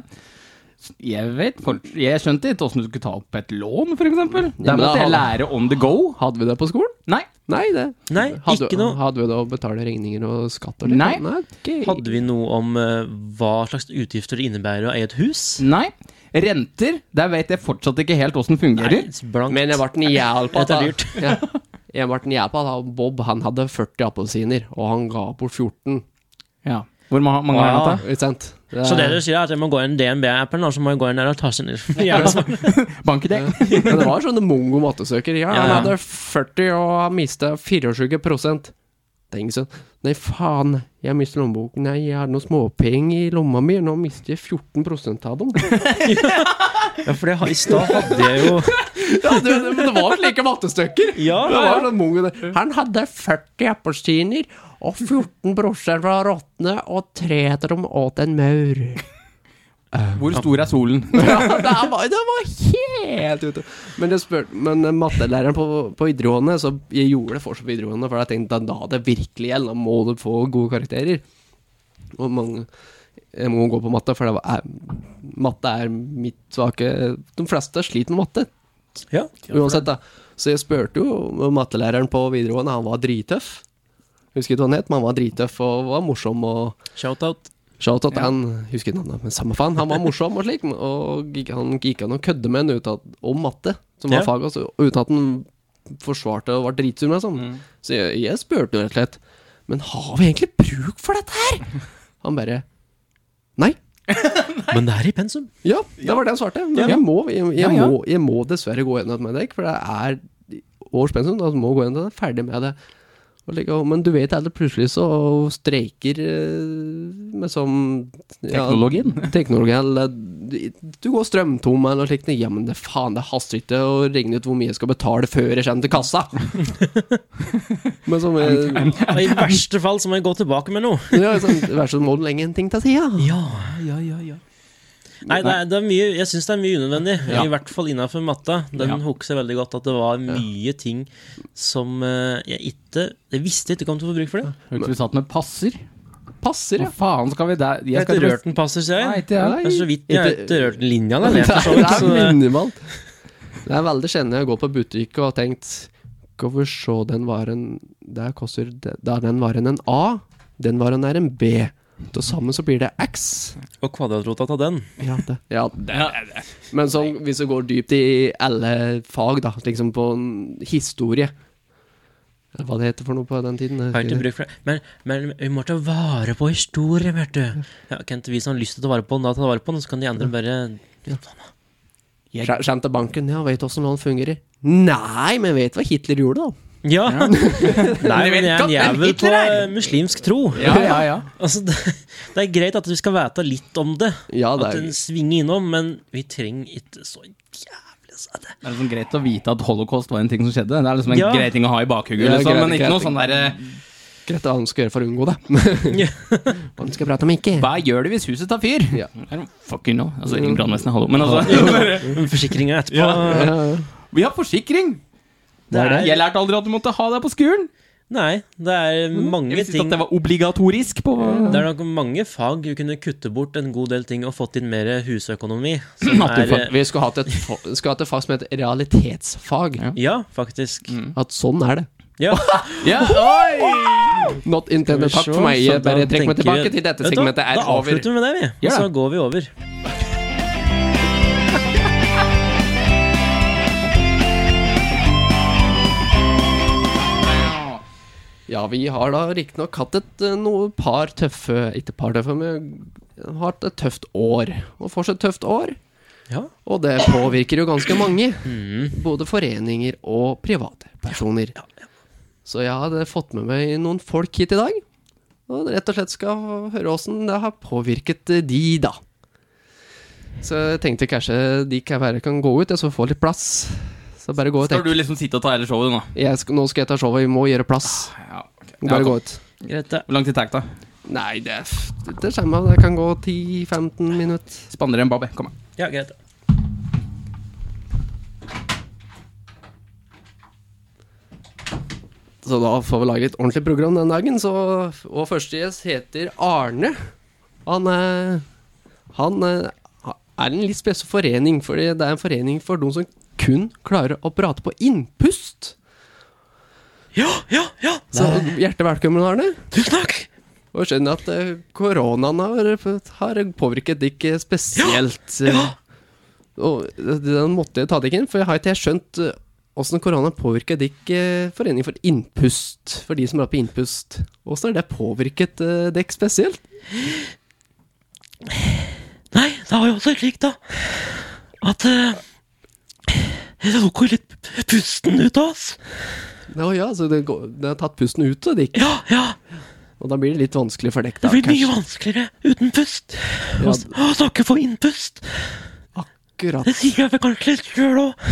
[SPEAKER 3] Jeg vet, for- jeg skjønte ikke hvordan du skulle ta opp et lån, for eksempel.
[SPEAKER 2] Ja,
[SPEAKER 3] Der
[SPEAKER 2] men da
[SPEAKER 3] måtte jeg
[SPEAKER 2] har-
[SPEAKER 3] lære on the go.
[SPEAKER 2] Hadde vi det på skolen?
[SPEAKER 3] Nei.
[SPEAKER 2] Nei, det
[SPEAKER 1] Nei,
[SPEAKER 2] hadde,
[SPEAKER 1] ikke noe.
[SPEAKER 2] Hadde vi det å betale regninger og skatt og
[SPEAKER 3] Nei.
[SPEAKER 2] ok.
[SPEAKER 1] Hadde vi noe om eh, hva slags utgifter det innebærer å eie et hus?
[SPEAKER 3] Nei. Renter, der vet jeg fortsatt ikke helt åssen fungerer.
[SPEAKER 1] Nei, blankt.
[SPEAKER 2] Men jeg ble en jævl på at
[SPEAKER 1] Dette er
[SPEAKER 2] ja. Jeg ble en jævl på at han- Bob han hadde 40 appelsiner, og han ga bort 14.
[SPEAKER 3] Ja. Hvor ma- mange har
[SPEAKER 1] Wow.
[SPEAKER 3] han hatt?
[SPEAKER 2] Ikke sant? Det
[SPEAKER 1] Så det
[SPEAKER 2] er-
[SPEAKER 1] du sier, er at jeg må gå inn i DNB-appen, og så må jeg gå inn der og ta sin jævla
[SPEAKER 3] da? Bankidé?
[SPEAKER 2] Men det var sånne mongo mattesøker. Ja,
[SPEAKER 1] Ja,
[SPEAKER 2] han
[SPEAKER 1] ja.
[SPEAKER 2] hadde 40, og han mista 24 Det er ingen sånn Nei, faen, jeg mister lommeboken. Nei, jeg har noen småpenger i lomma mi. Nå mister jeg 14 av dem.
[SPEAKER 1] Ja, for det, har- i stad hadde jeg jo
[SPEAKER 2] Ja, det, det, men det var slike mattestykker.
[SPEAKER 1] Ja,
[SPEAKER 2] det
[SPEAKER 1] ja,
[SPEAKER 2] var sånn mongo det. Han hadde 40 appelsiner, og 14 brosjer var råtne, og tre etter dem åt en maur.
[SPEAKER 3] Hvor stor er solen?
[SPEAKER 2] Ja, det, var, det var helt ute. Men, jeg spør, men eh, mattelæreren på, på videregående, så jeg gjorde det fortsatt på videregående, for jeg tenkte da, da det virkelig gjelder, da må du få gode karakterer. Og mange jeg må gå på matte, for det var, er, matte er mitt svake De fleste sliter med matte.
[SPEAKER 1] Ja.
[SPEAKER 2] Uansett, da. Så jeg spurte jo mattelæreren på videregående, han var drittøff. Husker ikke hva han het, men han var drittøff og var morsom og
[SPEAKER 1] Shout-out.
[SPEAKER 2] Shout-out han, husker ikke navnet, men samme faen. Han var morsom og slik, og gikk- han gikk an å kødde med en uten, at- om matte, som var
[SPEAKER 1] Ja.
[SPEAKER 2] faget, altså, uten at han forsvarte og var dritsur med sånn. Så jeg, jeg spurte jo rett og slett, men har vi egentlig bruk for dette her? Han bare Nei.
[SPEAKER 1] Men det er i pensum.
[SPEAKER 2] Ja, det var det han svarte. Men
[SPEAKER 1] Ja.
[SPEAKER 2] jeg, må, jeg, jeg,
[SPEAKER 3] Ja, ja.
[SPEAKER 2] Må, jeg må dessverre gå gjennom det med deg, for det er årspensum. Da må jeg gå gjennom det, ferdig med det. Og like, «Å, men du vet alle plutselig så streiker eh, med sånn ja,
[SPEAKER 3] Teknologien.
[SPEAKER 2] Teknologi eller Du går strømtom eller noe slikt. Ja, men det faen, det haster ikke å regne ut hvor mye jeg skal betale før jeg kommer til kassa. men som eh,
[SPEAKER 1] Og I verste fall så må jeg gå tilbake med noe.
[SPEAKER 2] ja, sånn, Vær så snill, må du legge en ting til sida?
[SPEAKER 1] Ja, ja, ja, ja. Nei, det er, det er mye, jeg syns det er mye unødvendig.
[SPEAKER 2] Ja.
[SPEAKER 1] I hvert fall innafor matta. Den
[SPEAKER 3] Ja.
[SPEAKER 1] husker veldig godt at det var mye ting som eh, jeg ikke Jeg visste ikke kom til å få bruk for det.
[SPEAKER 3] Hørtes vi satt med passer?
[SPEAKER 2] Passer,
[SPEAKER 3] Hva
[SPEAKER 2] ja.
[SPEAKER 3] faen skal vi der?
[SPEAKER 1] Jeg
[SPEAKER 3] Jeg
[SPEAKER 1] har
[SPEAKER 3] skal
[SPEAKER 1] ikke rørt den passer, sier
[SPEAKER 3] Nei,
[SPEAKER 1] jeg.
[SPEAKER 3] ikke jeg.
[SPEAKER 1] Det er så vidt jeg har
[SPEAKER 2] Ikke-
[SPEAKER 1] ikke rørt den linja. Da,
[SPEAKER 2] Det
[SPEAKER 1] jeg, for så vidt,
[SPEAKER 2] er
[SPEAKER 1] sånn, så det-
[SPEAKER 2] minimalt. Det er veldig sjelden jeg går på butikk og har tenkt Skal vi se, den varen Der koster der den varen en A, den varen er en B. Til sammen så blir det X.
[SPEAKER 1] og kvadratrota av den.
[SPEAKER 2] Ja, det. Men sånn, hvis du går dypt i alle fag, da, liksom på en historie Eller hva det heter for noe på den tiden. eh,
[SPEAKER 1] Har ikke bruk for det. Men, men vi må ta vare på historie, vet du. Ja, kan ikke vi som har lyst til å ta vare på den, da ta vare på den, så kan de andre bare
[SPEAKER 2] Skjem skjem til banken, ja, veit åssen lån fungerer. Nei, men vet hva Hitler gjorde, da?
[SPEAKER 1] Ja! Nei, men jeg er en
[SPEAKER 3] Velkommen,
[SPEAKER 1] jævel på
[SPEAKER 3] Hitler!
[SPEAKER 1] eh, muslimsk tro.
[SPEAKER 3] Ja, ja, ja.
[SPEAKER 1] Altså, det, det er greit at vi skal vite litt om det,
[SPEAKER 2] Ja, det
[SPEAKER 1] at
[SPEAKER 2] er
[SPEAKER 1] den svinger innom, men vi trenger ikke så jævlig sa det.
[SPEAKER 3] Det er liksom greit å vite at holocaust var en ting som skjedde. Det er liksom en
[SPEAKER 1] Ja.
[SPEAKER 3] grei ting å ha i bakhugget,
[SPEAKER 2] Ja,
[SPEAKER 3] liksom.
[SPEAKER 2] greit,
[SPEAKER 3] Men ikke
[SPEAKER 2] greit.
[SPEAKER 3] noe sånn derre
[SPEAKER 2] greit hva han skal gjøre for å unngå det. Hva han skal prate om ikke?
[SPEAKER 3] Hva gjør du hvis huset tar fyr?
[SPEAKER 2] Ja.
[SPEAKER 3] I don't fucking know. Altså, ring brannvesenet, hallo. Men altså
[SPEAKER 1] Men Forsikringa etterpå
[SPEAKER 3] Ja.
[SPEAKER 2] Mm. Ja, ja.
[SPEAKER 3] Vi har forsikring!
[SPEAKER 1] det er,
[SPEAKER 3] Jeg lærte aldri at du måtte ha det på skolen.
[SPEAKER 1] Nei, det
[SPEAKER 2] Mm.
[SPEAKER 1] er mange
[SPEAKER 3] Jeg visste ikke
[SPEAKER 1] ting
[SPEAKER 3] at det var obligatorisk på
[SPEAKER 1] Det er nok mange fag du kunne kutte bort en god del ting og fått inn mer husøkonomi. Som er
[SPEAKER 3] Naturfag.
[SPEAKER 2] Vi skulle hatt et, fa- skulle hatt et fag som het realitetsfag.
[SPEAKER 3] Ja.
[SPEAKER 1] Ja, faktisk.
[SPEAKER 2] At sånn er det.
[SPEAKER 1] Ja.
[SPEAKER 3] Ja, oi!
[SPEAKER 2] Not intended. Takk for meg.
[SPEAKER 1] Så da
[SPEAKER 2] Jeg bare trekk
[SPEAKER 1] tenker
[SPEAKER 2] meg
[SPEAKER 1] vi-
[SPEAKER 2] tilbake til dette
[SPEAKER 1] Vet du hva?
[SPEAKER 2] segmentet er
[SPEAKER 1] Da
[SPEAKER 2] over.
[SPEAKER 1] avslutter vi med det, vi. Og
[SPEAKER 3] Gjør
[SPEAKER 1] så
[SPEAKER 3] det.
[SPEAKER 1] går vi over.
[SPEAKER 2] Ja, vi har da riktignok hatt et eh, noe par tøffe Ikke par tøffe, men vi har hatt et tøft år. Og fortsatt tøft år.
[SPEAKER 1] Ja.
[SPEAKER 2] Og det påvirker jo ganske mange.
[SPEAKER 3] Mm.
[SPEAKER 2] Både foreninger og privatpersoner. Så jeg hadde fått med meg noen folk hit i dag. Og rett og slett skal høre åssen det har påvirket eh, de, da. Så jeg tenkte kanskje de kan være kan gå ut, jeg så får litt plass. Så bare gå ut.
[SPEAKER 3] Skal
[SPEAKER 2] jeg.
[SPEAKER 3] du liksom sitte og ta hele showet nå?
[SPEAKER 2] Jeg skal, nå skal jeg ta showet, vi må gjøre plass.
[SPEAKER 3] Ja, ok. Ja,
[SPEAKER 2] Bare gå ut.
[SPEAKER 1] Greit, det.
[SPEAKER 3] Hvor lang tid tar det?
[SPEAKER 2] Nei, det, det kommer av. Det kan gå 10-15 minutter.
[SPEAKER 3] Spanderer en babbe. Kom her.
[SPEAKER 1] Ja, greit. det.
[SPEAKER 2] Så da får vi lage et ordentlig program den dagen. Så, og førstegjest heter Arne. Han er Han er er en litt spesiell forening, for det er en forening for de som kun klarer å prate på innpust.
[SPEAKER 1] Ja, ja, ja!
[SPEAKER 2] Så hjertelig velkommen, Arne.
[SPEAKER 1] Tusen takk!
[SPEAKER 2] Og jeg skjønner at eh, koronaen har, har påvirket dere spesielt. eh,
[SPEAKER 1] ja.
[SPEAKER 2] Og det- den måtte jeg ta dere inn, for jeg har ikke helt skjønt eh, hvordan korona påvirker dere forening for innpust, for de som er på innpust. Hvordan har det påvirket eh, dere spesielt?
[SPEAKER 1] Nei, det har jo også vært slik, da, at eh, Det tok jo litt pusten ut av oss.
[SPEAKER 2] Nå ja, så det, går, det har tatt pusten ut av dere,
[SPEAKER 1] Ja, ja.
[SPEAKER 2] og da blir det litt vanskelig for dere,
[SPEAKER 1] Det
[SPEAKER 2] da.
[SPEAKER 1] blir mye
[SPEAKER 2] kanskje.
[SPEAKER 1] vanskeligere uten pust.
[SPEAKER 2] Ja.
[SPEAKER 1] Å s- Å snakke for innpust.
[SPEAKER 2] Akkurat.
[SPEAKER 1] Det sier jeg vel kanskje litt sjøl òg.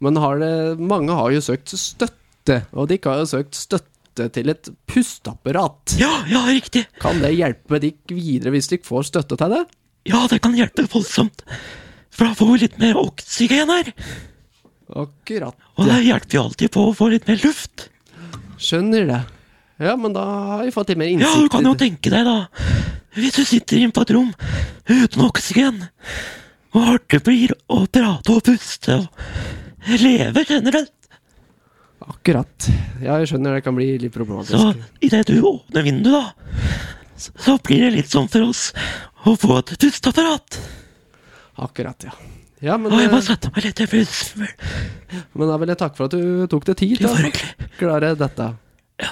[SPEAKER 2] Men har det, mange har jo søkt støtte, og dere har jo søkt støtte til et pusteapparat.
[SPEAKER 1] Ja, ja, riktig.
[SPEAKER 2] Kan det hjelpe dere videre hvis dere får støtte til det?
[SPEAKER 1] Ja, det kan hjelpe voldsomt. For da får vi litt mer oksygen her.
[SPEAKER 2] Akkurat.
[SPEAKER 1] Og det hjelper jo alltid på å få litt mer luft.
[SPEAKER 2] Skjønner det. Ja, men da har vi fått litt mer innsikt.
[SPEAKER 1] Ja, du kan jo
[SPEAKER 2] i det.
[SPEAKER 1] tenke deg, da. Hvis du sitter inne på et rom uten oksygen, hvor hardt det blir å prate og puste og leve generelt.
[SPEAKER 2] Akkurat. Ja, jeg skjønner det kan bli litt problematisk.
[SPEAKER 1] Så idet du åpner vinduet, da, så- så blir det litt sånn for oss å få et pusteapparat.
[SPEAKER 2] Akkurat, ja. Ja, men,
[SPEAKER 1] Og jeg må
[SPEAKER 2] eh,
[SPEAKER 1] sette meg litt jeg blir svimmel.
[SPEAKER 2] men da vil jeg takke for at du tok deg tid til
[SPEAKER 1] Det var
[SPEAKER 2] å
[SPEAKER 1] hyggelig.
[SPEAKER 2] klare dette.
[SPEAKER 1] Ja.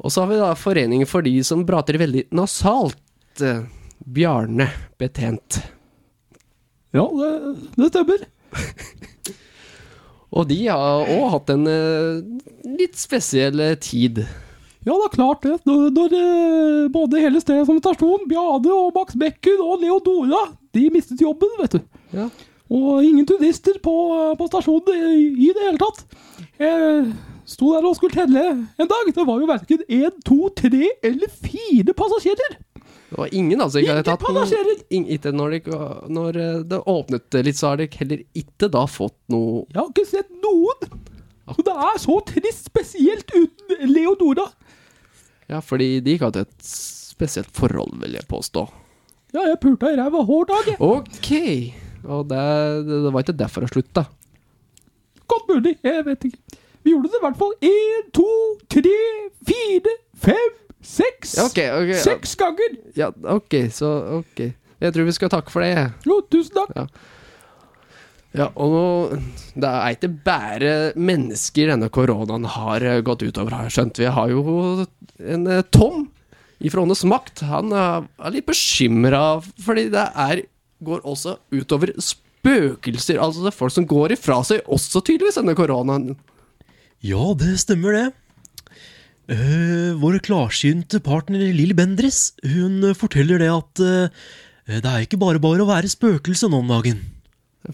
[SPEAKER 2] Og så har vi da Foreningen for de som prater veldig nasalt. eh, Bjarne Betjent.
[SPEAKER 3] Ja, det, det stemmer.
[SPEAKER 2] Og de har òg hatt en eh, litt spesiell eh, tid.
[SPEAKER 3] Ja, det er klart det. Når, når eh, både hele stedet som stasjon, Bjade og Max Bekken og Leodora, de mistet jobben, vet du.
[SPEAKER 2] Ja.
[SPEAKER 3] Og ingen turister på, eh, på stasjonen i, i det hele tatt. Jeg sto der og skulle telle en dag. Det var jo verken én, to, tre eller fire passasjerer.
[SPEAKER 2] Det var ingen, altså. Ikke,
[SPEAKER 3] Ingen
[SPEAKER 2] hadde tatt noen,
[SPEAKER 3] passasjerer!
[SPEAKER 2] ing, ikke når, det, når eh, det åpnet litt, så har dere heller ikke da fått noe
[SPEAKER 3] Jeg har ikke sett noen. Og det er så trist, spesielt uten Leodora.
[SPEAKER 2] Ja, fordi de ikke har hatt et spesielt forhold, vil jeg påstå.
[SPEAKER 3] Ja, jeg pulte i ræva hver dag. jeg.
[SPEAKER 2] Ok. Og det, det, det var ikke derfor det slutta.
[SPEAKER 3] Godt mulig. Jeg vet ikke. Vi gjorde det i hvert fall én, to, tre, fire, fem, seks.
[SPEAKER 2] Ja, ok, ok.
[SPEAKER 3] Seks ganger.
[SPEAKER 2] Ja, ok, så ok. Jeg tror vi skal takke for det.
[SPEAKER 3] Jo, tusen takk.
[SPEAKER 2] Ja, og nå, det er ikke bare mennesker denne koronaen har eh, gått utover, har jeg skjønt. Vi har jo en eh, Tom ifra Åndes makt. Han eh, er litt bekymra, fordi det er, går også utover spøkelser. Altså det er folk som går ifra seg også, tydeligvis, denne koronaen.
[SPEAKER 1] Ja, det stemmer det. Eh, vår klarsynte partner Lill Bendris hun eh, forteller det at eh, det er ikke bare bare å være spøkelse nå om dagen.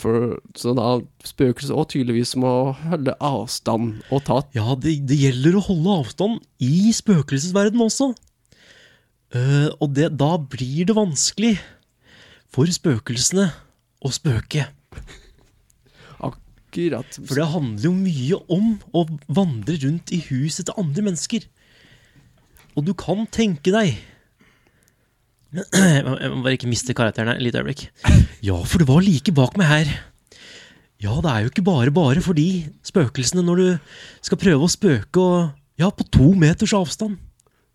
[SPEAKER 2] For, så da spøkelset òg tydeligvis må holde avstand og ta
[SPEAKER 1] Ja, det, det gjelder å holde avstand i spøkelsesverdenen også. Eh, og det, da blir det vanskelig for spøkelsene å spøke.
[SPEAKER 2] akkurat
[SPEAKER 1] For det handler jo mye om å vandre rundt i huset til andre mennesker. Og du kan tenke deg Jeg må jeg må bare ikke miste karakteren her. Litt øyeblikk. Ja, for det var like bak meg her. Ja, det er jo ikke bare bare for de spøkelsene når du skal prøve å spøke og Ja, på to meters avstand.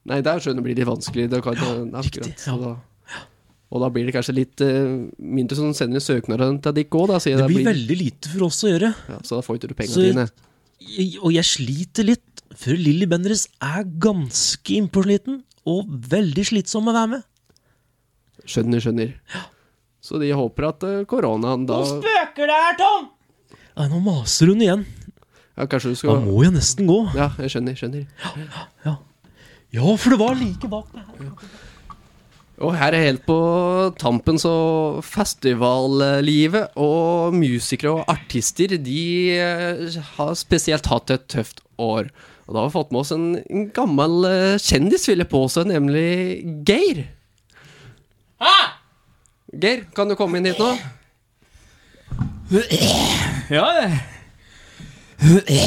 [SPEAKER 2] Nei, der skjønner jeg blir det litt vanskelig. Det kan,
[SPEAKER 1] riktig,
[SPEAKER 2] akkurat, så
[SPEAKER 1] ja.
[SPEAKER 2] da, og da blir det kanskje litt eh, mindre som sender søknaden til deg òg, da. sier
[SPEAKER 1] Det
[SPEAKER 2] jeg.
[SPEAKER 1] blir veldig lite for oss å gjøre.
[SPEAKER 2] ja, Så da får ikke du
[SPEAKER 1] Så-
[SPEAKER 2] pengene dine.
[SPEAKER 1] Jeg- Og jeg sliter litt, for Lilly Bendriss er ganske innpåsliten og veldig slitsom å være med.
[SPEAKER 2] Skjønner, skjønner. Så de håper at eh, koronaen da
[SPEAKER 1] spøker det her, Tom? Nei, nå maser hun igjen.
[SPEAKER 2] ja, Kanskje du
[SPEAKER 1] Da
[SPEAKER 2] skal
[SPEAKER 1] må jeg nesten gå.
[SPEAKER 2] Ja, jeg skjønner, skjønner.
[SPEAKER 1] Ja, for det var like bak meg.
[SPEAKER 2] Og her er helt på tampen, så festivallivet og musikere og artister, de eh, har spesielt hatt et tøft år. Og da har vi fått med oss en, en gammel eh, kjendis, vil jeg påstå, nemlig Geir. Geir, kan du komme inn hit nå?
[SPEAKER 3] Ja, det.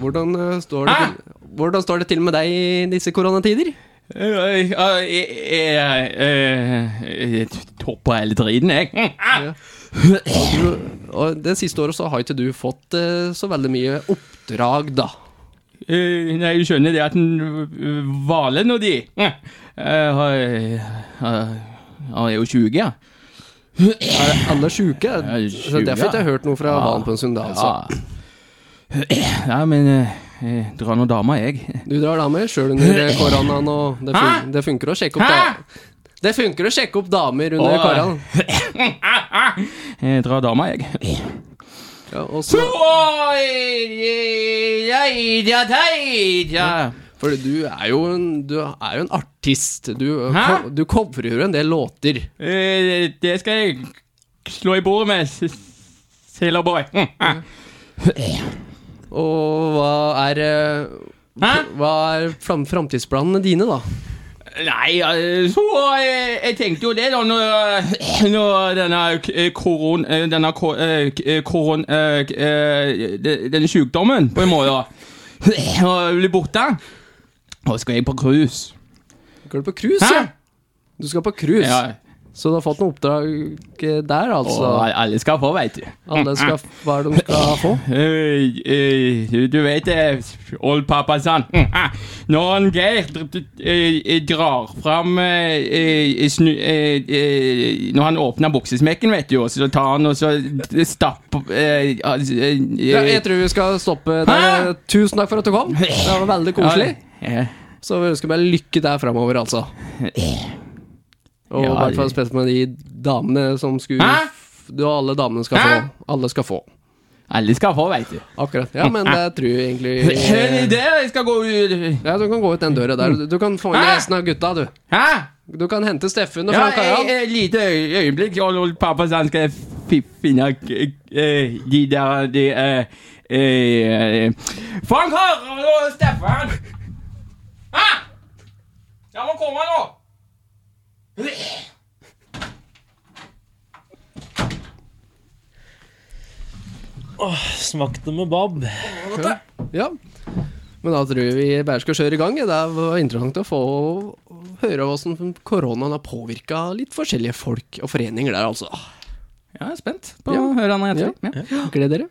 [SPEAKER 2] Hvordan, eh, står det til, hvordan står det til med deg i disse koronatider?
[SPEAKER 3] Jeg, jeg, jeg, jeg, jeg topper hele driten, jeg.
[SPEAKER 2] Og det siste året så har ikke du fått eh, så veldig mye oppdrag, da.
[SPEAKER 3] Eh, Nei, jeg skjønner det at en hvaler nå, de. Eh, har- eh, har- Han er jo 20, ja.
[SPEAKER 2] Alle er sjuke.
[SPEAKER 3] er
[SPEAKER 2] Så derfor har jeg ikke hørt noe fra Valen på en søndag. Altså.
[SPEAKER 3] Ah. Ja. Nei, men eh, jeg drar nå dama, jeg.
[SPEAKER 2] Du drar damer sjøl under eh, koronaen, og det, fun
[SPEAKER 3] Hæ?
[SPEAKER 2] det funker å sjekke opp
[SPEAKER 3] Hæ?
[SPEAKER 2] da Det funker å sjekke opp damer under
[SPEAKER 3] Åh.
[SPEAKER 2] koronaen.
[SPEAKER 3] Jeg drar Eh, dama, jeg.
[SPEAKER 2] Ja, og så- for du er jo en, du er jo en artist. Du,
[SPEAKER 3] Hæ?
[SPEAKER 2] ko- du covrer jo en del låter.
[SPEAKER 3] Eh, Det skal jeg slå i bordet med, s- Sailor Boy.
[SPEAKER 2] Og hva er eh,
[SPEAKER 3] Hæ?
[SPEAKER 2] Hva er fram framtidsplanene dine, da?
[SPEAKER 3] Nei, eh, så eh, Jeg tenkte jo det, da, når, når denne eh, koron... eh, Denne ko- eh, k- eh, koron... eh, k- eh, de- Denne sykdommen, på en måte, og blir borte. Og skal jeg på cruise.
[SPEAKER 2] Går du på cruise?
[SPEAKER 3] Hæ?
[SPEAKER 2] ja? Du skal på cruise,
[SPEAKER 3] Ja,
[SPEAKER 2] så du har fått noe oppdrag eh, der,
[SPEAKER 3] og
[SPEAKER 2] altså?
[SPEAKER 3] alle skal få, veit du.
[SPEAKER 2] Alle
[SPEAKER 3] Mm,
[SPEAKER 2] skal, hva er det de skal få?
[SPEAKER 3] Eh, eh, Du vet det, old pappa sann.
[SPEAKER 2] Mm.
[SPEAKER 3] Når han Geir dr- dr- eh, drar fram eh, eh, snu, eh, eh, Når han åpner buksesmekken, vet du, og så tar han og så stapper eh, altså, eh,
[SPEAKER 2] Ja, jeg tror vi skal stoppe der.
[SPEAKER 3] Hæ?
[SPEAKER 2] Tusen takk for at du kom. Det var veldig koselig.
[SPEAKER 3] Ja,
[SPEAKER 2] Så vi ønsker bare lykke der framover, altså. Og i
[SPEAKER 3] Ja,
[SPEAKER 2] hvert fall
[SPEAKER 3] det-
[SPEAKER 2] spesielt med de damene som skulle
[SPEAKER 3] Hæ?
[SPEAKER 2] f- Du og alle damene skal
[SPEAKER 3] Hæ?
[SPEAKER 2] få. Alle skal få.
[SPEAKER 3] Alle skal få, veit du.
[SPEAKER 2] Akkurat. Ja, men det tror jeg
[SPEAKER 3] Eh,
[SPEAKER 2] egentlig
[SPEAKER 3] Det jeg skal gå ut
[SPEAKER 2] Ja, du kan gå ut den døra der. Du- Du kan få med
[SPEAKER 3] Hæ?
[SPEAKER 2] resten av gutta, du.
[SPEAKER 3] Hæ?
[SPEAKER 2] Du kan hente Steffen og
[SPEAKER 3] Ja,
[SPEAKER 2] Frank Harald.
[SPEAKER 3] et lite øy- øyeblikk. Old, old pappa sann skal fi- finne eh, de der de, eh, eh, Frank Harald og Steffen! Hæ? Jeg må komme nå!
[SPEAKER 1] Smakte med bab.
[SPEAKER 2] Ja. Men da tror jeg vi bare skal kjøre i gang. Det var interessant å få høre hvordan koronaen har påvirka litt forskjellige folk og foreninger der, altså.
[SPEAKER 3] Jeg er spent på å høre han
[SPEAKER 2] Ja.
[SPEAKER 3] Ja.
[SPEAKER 2] Gled dere.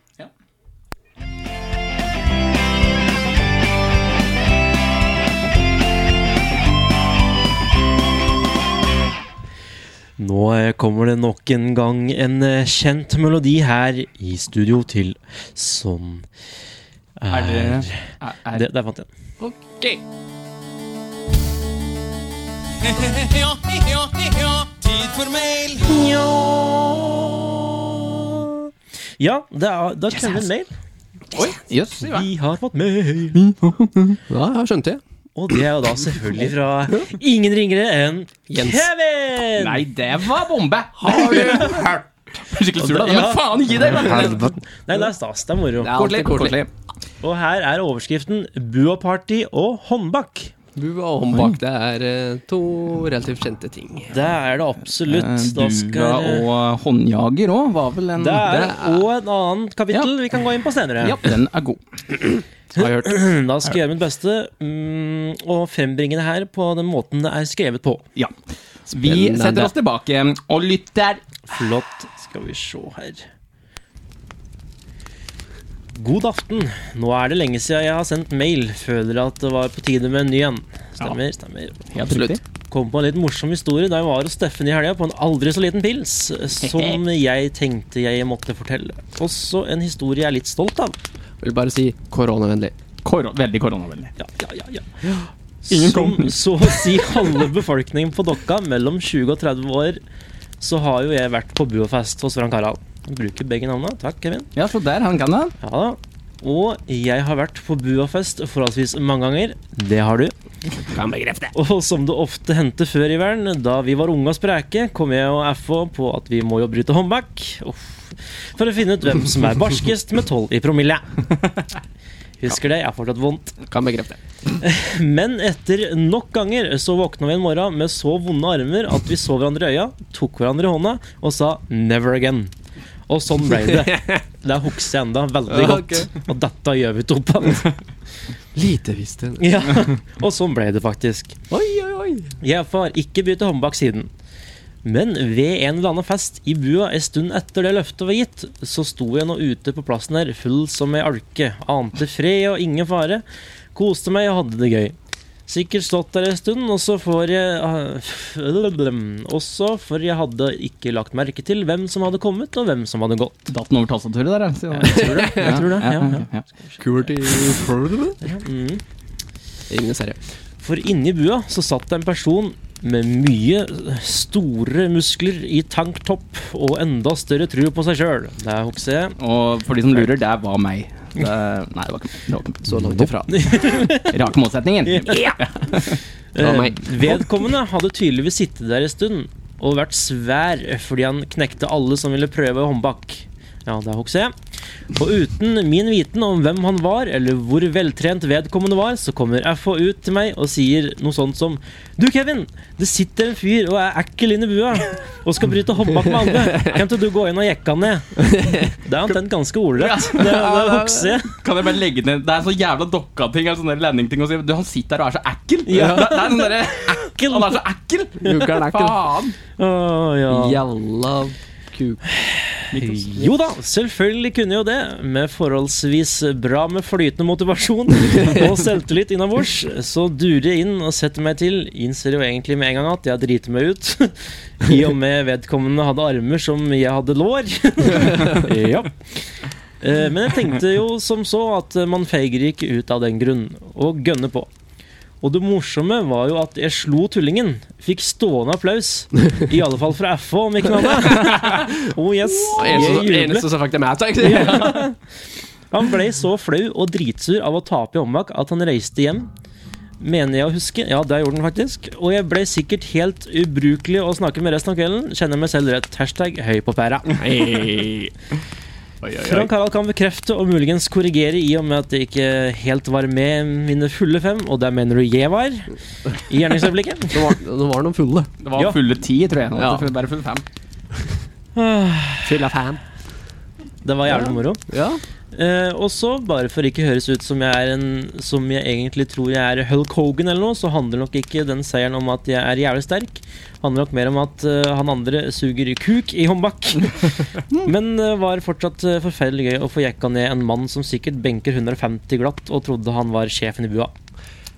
[SPEAKER 1] Nå eh, kommer det nok en gang en eh, kjent melodi her i studio til sånn
[SPEAKER 3] Er
[SPEAKER 1] er,
[SPEAKER 3] det,
[SPEAKER 1] det,
[SPEAKER 3] er, er,
[SPEAKER 1] Der fant jeg den.
[SPEAKER 2] Ok.
[SPEAKER 4] Ja, ja, ja, tid for mail.
[SPEAKER 1] Ja, det er, da kommer det en mail.
[SPEAKER 3] Oi, jøss. Yes,
[SPEAKER 1] Vi har fått mail.
[SPEAKER 2] Ja, jeg skjønte det.
[SPEAKER 1] Og det er jo da selvfølgelig fra ingen ringere enn
[SPEAKER 2] Jens.
[SPEAKER 1] Kevin!
[SPEAKER 3] Nei, det var bombe! Har du hørt? Skikkelig sur, da. Men
[SPEAKER 1] Ja.
[SPEAKER 3] faen, gi deg! da.
[SPEAKER 1] Nei, det er stas. Det er moro.
[SPEAKER 2] Kort litt, kort litt.
[SPEAKER 1] Og her er overskriften 'Buaparty og håndbak'.
[SPEAKER 2] Bua og håndbak, det er eh, to relativt kjente ting.
[SPEAKER 1] Det er det absolutt. Da
[SPEAKER 3] Dua
[SPEAKER 1] skal
[SPEAKER 3] Eh, og eh, håndjager òg var vel en
[SPEAKER 1] Det er
[SPEAKER 2] Det er-
[SPEAKER 1] òg et annet kapittel vi kan gå inn på senere.
[SPEAKER 3] Ja, den er god.
[SPEAKER 2] Har jeg hørt.
[SPEAKER 1] Da skal jeg gjøre mitt beste mm, og frembringe det her på den måten det er skrevet på.
[SPEAKER 3] Ja. Vi
[SPEAKER 2] Spennende.
[SPEAKER 3] setter oss tilbake og lytter.
[SPEAKER 1] Flott. Skal vi se her. God aften. Nå er det lenge siden jeg har sendt mail. Føler at det var på tide med en ny en. Stemmer, stemmer.
[SPEAKER 3] Helt
[SPEAKER 2] Absolutt.
[SPEAKER 3] riktig.
[SPEAKER 1] Kom på en litt morsom historie da jeg var hos Steffen i helga på en aldri så liten pils, som jeg tenkte jeg måtte fortelle. Også en historie jeg er litt stolt av.
[SPEAKER 2] Vil bare si koronavennlig.
[SPEAKER 3] Koro veldig koronavennlig.
[SPEAKER 1] Ja, ja, ja, ja.
[SPEAKER 3] Ingen
[SPEAKER 1] Som
[SPEAKER 3] kom.
[SPEAKER 1] så å si halve befolkningen på Dokka mellom 20 og 30 år, så har jo jeg vært på buafest hos Frank Harald. Bruker begge navnene. Takk, Kevin.
[SPEAKER 3] Ja, så der, han kan det.
[SPEAKER 1] Ja da. Og jeg har vært på buafest forholdsvis mange ganger. Det har du.
[SPEAKER 2] Kan bekrefte.
[SPEAKER 1] Og som det ofte hendte før i verden, da vi var unge og spreke, kom jeg og FH på at vi må jo bryte håndbak. Uff. For å finne ut hvem som er barskest med 12 i promille. Husker det, jeg har fortsatt vondt.
[SPEAKER 2] Kan bekrefte.
[SPEAKER 1] Men etter nok ganger så våkna vi en morgen med så vonde armer at vi så hverandre i øya, tok hverandre i hånda og sa 'never again'. Og sånn ble det. Det hukser jeg enda veldig
[SPEAKER 2] Ja,
[SPEAKER 1] godt. Og dette gjør vi to på.
[SPEAKER 2] Lite visste jeg.
[SPEAKER 1] Ja. Og sånn ble det faktisk.
[SPEAKER 2] Oi, oi, oi.
[SPEAKER 1] Jeg får ikke bytte håndbak siden. Men ved en eller annen fest i bua en stund etter det løftet var gitt, så sto jeg nå ute på plassen her, full som ei alke, ante fred og ingen fare, koste meg og hadde det gøy. Sikkert stått der en stund, og så får jeg ah, Også for jeg hadde ikke lagt merke til hvem som hadde kommet, og hvem som hadde gått.
[SPEAKER 3] Datt den over tastaturet der, altså. Tror du det?
[SPEAKER 1] Jeg tror det, ja,
[SPEAKER 3] ja.
[SPEAKER 2] Kult i
[SPEAKER 1] Mm.
[SPEAKER 2] Ingen serie.
[SPEAKER 1] For inni bua så satt det en person med mye store muskler i tanktopp og enda større tru på seg sjøl. Det husker jeg.
[SPEAKER 3] Og for de som lurer, det var meg. Det, nei, det var ikke det var ikke
[SPEAKER 2] Så langt ifra.
[SPEAKER 3] Rake målsetningen.
[SPEAKER 2] Det var
[SPEAKER 1] Eh,
[SPEAKER 2] meg.
[SPEAKER 1] vedkommende hadde tydeligvis sittet der en stund og vært svær fordi han knekte alle som ville prøve håndbak. Ja, det husker jeg. Og uten min viten om hvem han var, eller hvor veltrent vedkommende var, så kommer FH ut til meg og sier noe sånt som Du, Kevin, det sitter en fyr og er ekkel inni bua og skal bryte håndbak med alle. Kan ikke du gå inn og jekke han ned? Det er omtrent ganske ordrett. Det, det husker jeg.
[SPEAKER 3] Kan jeg bare legge ned Det er så jævla dokka-ting. Altså, sånne landing-ting å si. Du, han sitter der og er så ekkel! Det, det er sånn derre
[SPEAKER 1] Ekkel.
[SPEAKER 3] Han er så ekkel!
[SPEAKER 2] Mugger'n er ikke
[SPEAKER 3] Faen!
[SPEAKER 1] Å, ja.
[SPEAKER 2] Jalla kuk.
[SPEAKER 1] Jo da, selvfølgelig kunne jo det. Med forholdsvis bra med flytende motivasjon og selvtillit innabords, så durer jeg inn og setter meg til. Innser jo egentlig med en gang at jeg driter meg ut. I og med vedkommende hadde armer som jeg hadde lår. ja. Eh, Men jeg tenkte jo som så at man feiger ikke ut av den grunn, og gønner på. Og det morsomme var jo at jeg slo tullingen. Fikk stående applaus. I alle fall fra FH, om ikke noe annet. Oh yes. Jeg
[SPEAKER 2] Eneste,
[SPEAKER 1] jublet.
[SPEAKER 2] eneste som fikk det med seg. Ja.
[SPEAKER 1] Han ble så flau og dritsur av å tape i håndbak at han reiste hjem. Mener jeg å huske. Ja, det gjorde han faktisk. Og jeg ble sikkert helt ubrukelig å snakke med resten av kvelden. Kjenner meg selv rett. Hashtag høy på pæra. Frank Harald kan bekrefte og muligens korrigere i og med at det ikke helt var med mine fulle fem, og der mener du jeg var i gjerningsøyeblikket.
[SPEAKER 2] Nå var, nå var det noen fulle.
[SPEAKER 3] Det var
[SPEAKER 1] Ja.
[SPEAKER 3] fulle ti, tror jeg.
[SPEAKER 2] Ja.
[SPEAKER 3] Det var Bare fulle fem.
[SPEAKER 1] Ah,
[SPEAKER 2] Full av fan.
[SPEAKER 1] Det var jævlig moro.
[SPEAKER 2] Ja.
[SPEAKER 1] Eh, og så, bare for ikke høres ut som jeg er en Som jeg egentlig tror jeg er Hulk Hogan eller noe, så handler nok ikke den seieren om at jeg er jævlig sterk. Handler nok mer om at eh, han andre suger kuk i håndbak. Men eh, var fortsatt eh, forferdelig gøy å få jekka ned en mann som sikkert benker 150 glatt og trodde han var sjefen i bua.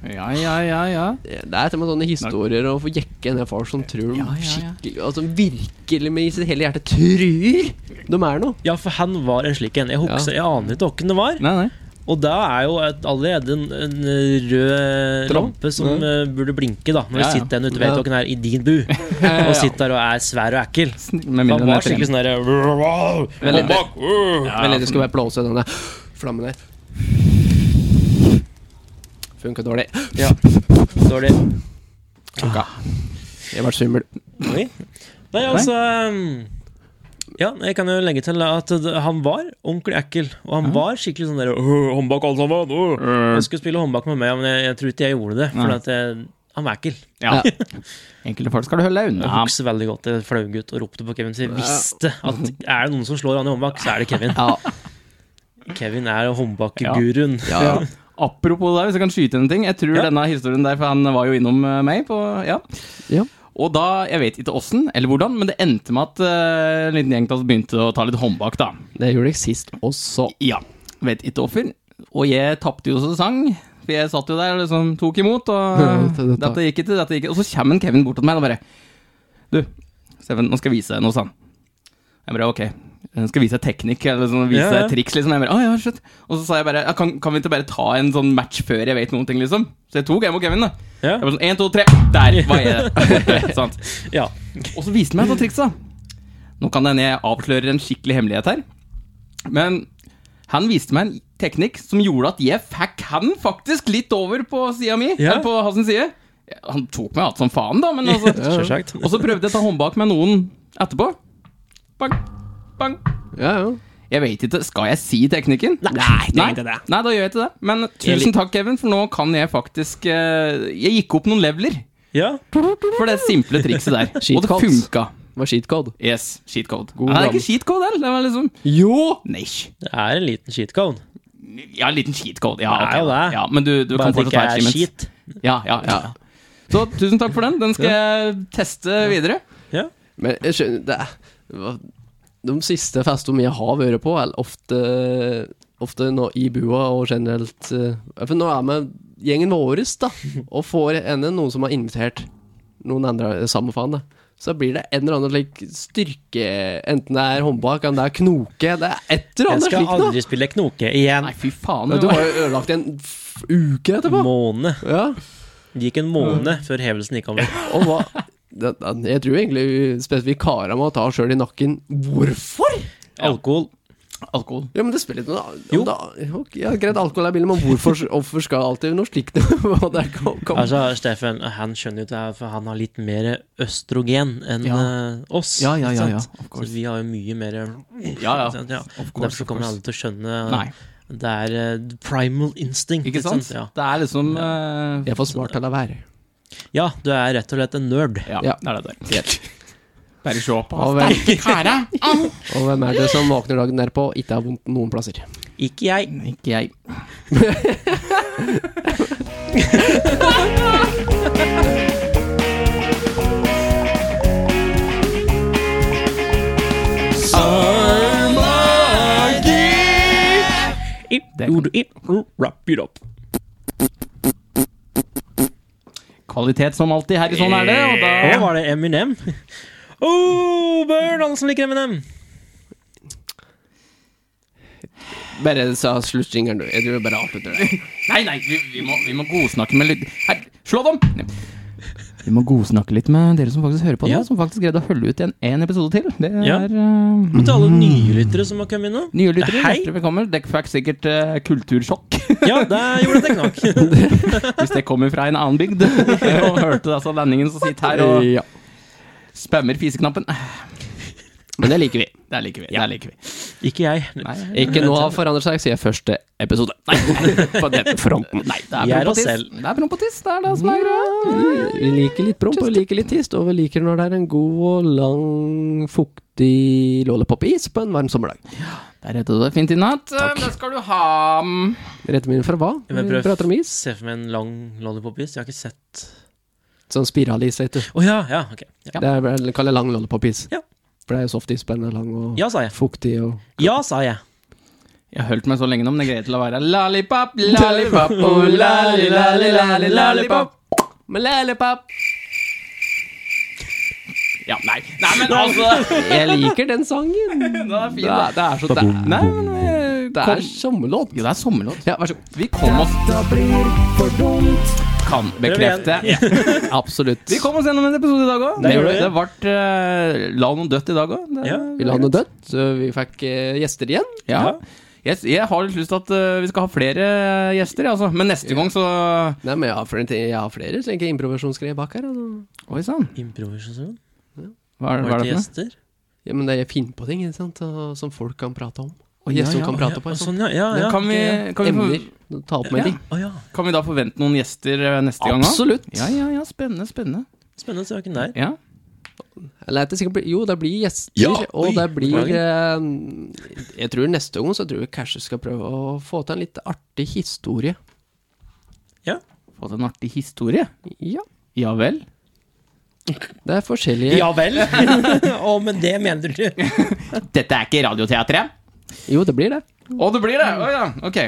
[SPEAKER 3] Ja, ja, ja, ja.
[SPEAKER 2] Det er til og med sånne historier å få jekke ned folk som tror
[SPEAKER 3] Ja, ja, ja.
[SPEAKER 2] skikkelig Altså virkelig med i sitt hele hjerte tror de er noe.
[SPEAKER 1] Ja, for han var en slik en. Jeg, husker, jeg aner ikke hvem det var.
[SPEAKER 3] Nei, nei.
[SPEAKER 1] Og da er jo et, allerede en, en rød
[SPEAKER 2] Tråd.
[SPEAKER 1] lampe som eh, burde blinke, da. Når
[SPEAKER 3] Ja,
[SPEAKER 1] det
[SPEAKER 3] ja.
[SPEAKER 1] sitter en ute
[SPEAKER 2] Ja.
[SPEAKER 1] ved tåken her i din bu og sitter der og er svær og ekkel.
[SPEAKER 3] Sn- Med
[SPEAKER 1] Han
[SPEAKER 3] mindre
[SPEAKER 1] var
[SPEAKER 3] enn
[SPEAKER 1] skikkelig sånn derre
[SPEAKER 2] Veldig-
[SPEAKER 1] Håndbak! øh.
[SPEAKER 2] Vel, det skulle være blåse denne flammen der. Funka dårlig.
[SPEAKER 1] Ja. Dårlig.
[SPEAKER 2] Jeg ble svimmel.
[SPEAKER 1] Oi. Nei, altså um, Ja, jeg kan jo legge til at det- han var ordentlig ekkel. Og han var skikkelig sånn der «Øh, Håndbak, alle sammen! øh». Han skulle spille håndbak med meg, men jeg, jeg tror ikke jeg gjorde det. For
[SPEAKER 3] Nei.
[SPEAKER 1] at jeg, han var ekkel.
[SPEAKER 3] Ja. Enkelte folk skal du holde deg
[SPEAKER 1] Jeg
[SPEAKER 3] unna.
[SPEAKER 1] husker veldig godt jeg fløy ut og ropte på Kevin. Så jeg visste at er det noen som slår han i håndbak, så er det Kevin.
[SPEAKER 2] Ja.
[SPEAKER 1] Kevin er håndbakguruen.
[SPEAKER 2] Ja.
[SPEAKER 3] Ja. Apropos det, hvis jeg kan skyte en ting. Jeg tror
[SPEAKER 1] Ja.
[SPEAKER 3] denne historien der, for han var jo innom eh, meg på Ja.
[SPEAKER 2] Ja.
[SPEAKER 3] Og da, jeg vet ikke åssen eller hvordan, men det endte med at eh, en liten gjeng av oss begynte å ta litt håndbak, da.
[SPEAKER 2] Det gjorde jeg sist også.
[SPEAKER 3] Ja. Vet ikke hvorfor. Og jeg tapte jo så det sang. For jeg satt jo der og liksom tok imot, og
[SPEAKER 2] Dette- dette-
[SPEAKER 3] dette gikk ikke, dette gikk ikke. Og så kommer en Kevin bort til meg og bare Du, Steffen, nå skal jeg vise deg noe, sa han. Jeg bare OK. Jeg skal vise deg teknikk, eller sånn, vise
[SPEAKER 1] Ja, ja.
[SPEAKER 3] deg triks, liksom. Jeg bare, «Å, ja, shit. Og så sa jeg bare «Ja, kan, kan vi ikke bare ta en sånn match før jeg vet noen ting, liksom? Så jeg tok en mot Kevin, da.
[SPEAKER 1] Ja.
[SPEAKER 3] Jeg var sånn, En, to, tre. Der var jeg. Sant.
[SPEAKER 1] Ja.
[SPEAKER 3] Og så viste han meg et sånt triks, da. Nå kan det hende jeg avslører en skikkelig hemmelighet her. Men han viste meg en teknikk som gjorde at jeg fikk han faktisk litt over på sida mi.
[SPEAKER 1] Ja.
[SPEAKER 3] eller På hans side. Ja, Han tok meg igjen som faen, da, men altså
[SPEAKER 1] Selvsagt.
[SPEAKER 3] Og så prøvde jeg å ta håndbak med noen etterpå. Bang, bang.
[SPEAKER 2] Ja, ja.
[SPEAKER 3] Jeg vet ikke, Skal jeg si teknikken? Nei,
[SPEAKER 2] gjør ikke det.
[SPEAKER 3] Nei, da gjør jeg ikke det. Men tusen takk, Kevin, for nå kan jeg faktisk eh, Jeg gikk opp noen leveler
[SPEAKER 1] Ja.
[SPEAKER 3] for det simple trikset der. Og det
[SPEAKER 2] Skitkaldt.
[SPEAKER 3] funka.
[SPEAKER 2] Det var cheatcode.
[SPEAKER 3] Yes, cheat code.
[SPEAKER 2] God
[SPEAKER 3] Nei, det er
[SPEAKER 2] dam.
[SPEAKER 3] ikke cheat code heller. Det var liksom
[SPEAKER 2] Jo!
[SPEAKER 3] Nei.
[SPEAKER 1] Det er en liten cheatcode.
[SPEAKER 3] Ja, en liten cheat code. Ja,
[SPEAKER 1] Det er
[SPEAKER 3] ok.
[SPEAKER 1] jo det.
[SPEAKER 3] ja, men du, du
[SPEAKER 1] Bare
[SPEAKER 3] kan
[SPEAKER 1] at det
[SPEAKER 3] fortsatt
[SPEAKER 1] ikke
[SPEAKER 3] ta
[SPEAKER 1] er
[SPEAKER 3] achievements.
[SPEAKER 1] skit.
[SPEAKER 3] Ja, ja, ja. Så tusen takk for den. Den skal jeg teste videre.
[SPEAKER 1] Ja.
[SPEAKER 2] Men jeg skjønner det er, hva- De siste festene jeg har vært på, er ofte, ofte nå i bua og generelt eh, For nå er vi gjengen vår, da, og får ende noen som har invitert noen andre, eh, samme faen, det. Så blir det en eller annen like, styrke Enten det er håndbak, eller det er knoke Det er et
[SPEAKER 1] Jeg
[SPEAKER 2] eller annet
[SPEAKER 1] skal
[SPEAKER 2] slikt noe.
[SPEAKER 1] aldri spille knoke igjen.
[SPEAKER 3] Nei, fy faen.
[SPEAKER 2] Ja,
[SPEAKER 3] det
[SPEAKER 2] du
[SPEAKER 3] var-
[SPEAKER 2] har jo ødelagt en f- uke etterpå.
[SPEAKER 1] Måned.
[SPEAKER 2] Ja,
[SPEAKER 1] Det gikk en måned før hevelsen gikk over.
[SPEAKER 2] og hva det- det- Jeg tror egentlig spesifikt kara må ta sjøl i nakken. Hvorfor?!
[SPEAKER 1] Alkohol.
[SPEAKER 3] Alkohol.
[SPEAKER 2] Ja, men det spiller ikke noe om
[SPEAKER 1] Jo.
[SPEAKER 2] Da, ok, ja, greit, alkohol er billig, men hvorfor, hvorfor skal alltid noe slikt Og der kom, kom.
[SPEAKER 1] Altså, Steffen han skjønner jo det, her, for han har litt mer østrogen enn eh, oss.
[SPEAKER 3] Ja, ja,
[SPEAKER 1] ikke
[SPEAKER 3] ja,
[SPEAKER 1] sant?
[SPEAKER 3] ja,
[SPEAKER 1] Så
[SPEAKER 3] of course.
[SPEAKER 1] vi har jo mye mer
[SPEAKER 3] Ja, ja.
[SPEAKER 1] ikke sant?
[SPEAKER 3] Of course,
[SPEAKER 1] Derfor
[SPEAKER 3] of
[SPEAKER 1] kommer eh,
[SPEAKER 3] course.
[SPEAKER 1] alle til å skjønne
[SPEAKER 3] Nei.
[SPEAKER 1] Det er eh, primal instinct.
[SPEAKER 3] Ikke sant?
[SPEAKER 1] sånn, Ja.
[SPEAKER 3] Det er liksom eh,
[SPEAKER 2] Jeg er for smart til å la være.
[SPEAKER 1] ja, du er rett og slett en nerd.
[SPEAKER 3] ja,
[SPEAKER 2] Ja.
[SPEAKER 3] det er det der. Bare se på
[SPEAKER 2] Og hvem, og hvem er det som våkner dagen derpå og ikke har vondt noen plasser?
[SPEAKER 1] Ikke jeg.
[SPEAKER 3] Ikke jeg. Kvalitet som alltid her i Sånn er det. Og da
[SPEAKER 1] Nå var det Eminem. Oh, Børn, alle som liker Eminem.
[SPEAKER 2] Bare sa sluttjingeren, du. Jeg tror jeg bare avslutter det.
[SPEAKER 3] Nei, nei, vi, vi, må, vi må godsnakke med litt Her, slå dem! Vi må godsnakke litt med dere som faktisk hører på
[SPEAKER 1] Ja.
[SPEAKER 3] nå, som faktisk greide å holde ut en, en episode til. Det er
[SPEAKER 1] Ja.
[SPEAKER 3] eh,
[SPEAKER 1] Og til alle nylyttere som har kommet nå.
[SPEAKER 3] nye lyttere.
[SPEAKER 1] Hei.
[SPEAKER 3] Hjertelig velkommen. Dere fikk sikkert eh, kultursjokk
[SPEAKER 1] Ja, der gjorde det knakk.
[SPEAKER 3] hvis dere kommer fra en annen bygd og hørte altså landingen som sitter her og
[SPEAKER 2] Ja.
[SPEAKER 3] spammer fiseknappen.
[SPEAKER 2] Men det liker vi.
[SPEAKER 3] Der liker vi. Der liker vi.
[SPEAKER 1] Ikke jeg.
[SPEAKER 3] Nei,
[SPEAKER 2] Ikke noe har forandret seg siden første episode. Nei, på den fronten.
[SPEAKER 3] nei, det
[SPEAKER 1] Vi
[SPEAKER 3] er
[SPEAKER 1] er oss
[SPEAKER 3] prompetiss.
[SPEAKER 1] selv.
[SPEAKER 3] Det er prompetiss, det er det som er greia.
[SPEAKER 2] Vi liker litt promp og vi liker litt tist, og vi liker når det er en god og lang, fuktig lollipop-is på en varm sommerdag.
[SPEAKER 3] Der heter det fint i natt. Det skal du ha.
[SPEAKER 2] Retter min fra hva?
[SPEAKER 1] Men
[SPEAKER 2] Vi
[SPEAKER 1] prøv-
[SPEAKER 2] prater om is.
[SPEAKER 1] Se for meg en lang lollipop-is. Jeg har ikke sett
[SPEAKER 2] Sånn spiralis, vet du.
[SPEAKER 1] Å ja, ja, ok. Ja.
[SPEAKER 2] Det er vel kall det lang lollipop-is.
[SPEAKER 1] Ja.
[SPEAKER 2] For det er jo softis, men den er lang og
[SPEAKER 1] ja, sa jeg.
[SPEAKER 2] fuktig og
[SPEAKER 1] Ja, sa jeg.
[SPEAKER 3] Jeg har holdt meg så lenge nå, men jeg greier til å være lollipop, lollipop, oh, lolli, lolli, lolli, lollipop.
[SPEAKER 2] Med lollipop!
[SPEAKER 3] Ja, nei, nei, men altså
[SPEAKER 2] Jeg liker den sangen.
[SPEAKER 3] Den er fin,
[SPEAKER 2] Det er, det er så det er,
[SPEAKER 3] Nei, men eh,
[SPEAKER 2] det
[SPEAKER 3] kom-
[SPEAKER 2] er sommerlåt.
[SPEAKER 3] Jo, det er sommerlåt.
[SPEAKER 2] Ja, vær så god.
[SPEAKER 3] Vi kom oss Kan bekrefte.
[SPEAKER 1] Prøv
[SPEAKER 2] Absolutt.
[SPEAKER 3] Vi kom oss gjennom en episode i dag òg.
[SPEAKER 1] Det gjorde vi.
[SPEAKER 3] Det ble eh, La noen dødt i dag òg.
[SPEAKER 1] Ja.
[SPEAKER 2] Vi la noe dødt, så vi fikk eh, gjester igjen.
[SPEAKER 3] Ja.
[SPEAKER 1] Ja.
[SPEAKER 3] Jeg, jeg har litt lyst til at eh, vi skal ha flere gjester, jeg, altså. Men neste gang så
[SPEAKER 2] Nei, men jeg har flere, ting- jeg har flere slike improvisasjonsgreier bak her. Altså.
[SPEAKER 3] Oi sann.
[SPEAKER 1] Improvisasjon?
[SPEAKER 3] Hva er,
[SPEAKER 1] Var det
[SPEAKER 3] hva er det for noe?
[SPEAKER 1] gjester?
[SPEAKER 2] Ja, men det er jeg finner på ting ikke sant? og- som folk kan prate om.
[SPEAKER 3] Å,
[SPEAKER 2] Og
[SPEAKER 3] ja,
[SPEAKER 2] gjester
[SPEAKER 3] ja,
[SPEAKER 2] kan
[SPEAKER 1] Å, ja,
[SPEAKER 2] prate på.
[SPEAKER 1] å,
[SPEAKER 2] ikke sant?
[SPEAKER 1] Sånn, ja. ja, ja.
[SPEAKER 3] Kan vi, kan vi få
[SPEAKER 2] Emner. Ta opp med ting.
[SPEAKER 1] Å ja.
[SPEAKER 3] Kan vi da forvente noen gjester eh, neste gang? da?
[SPEAKER 2] Absolutt.
[SPEAKER 3] Ja, ja, ja, spennende, spennende.
[SPEAKER 1] Spennende saken der.
[SPEAKER 3] Ja.
[SPEAKER 2] Eller at det sikkert blir, jo, det blir gjester, og det blir eh, Jeg tror neste gang så tror jeg kanskje skal prøve å få til en litt artig historie.
[SPEAKER 1] Ja.
[SPEAKER 3] Fått en artig historie.
[SPEAKER 2] Ja.
[SPEAKER 3] Ja vel.
[SPEAKER 2] Det er forskjellige
[SPEAKER 1] vel? Å, men det mener du.
[SPEAKER 3] Dette er ikke Radioteatret.
[SPEAKER 2] Jo, det blir det.
[SPEAKER 3] Å, det blir det! Å ja, ok.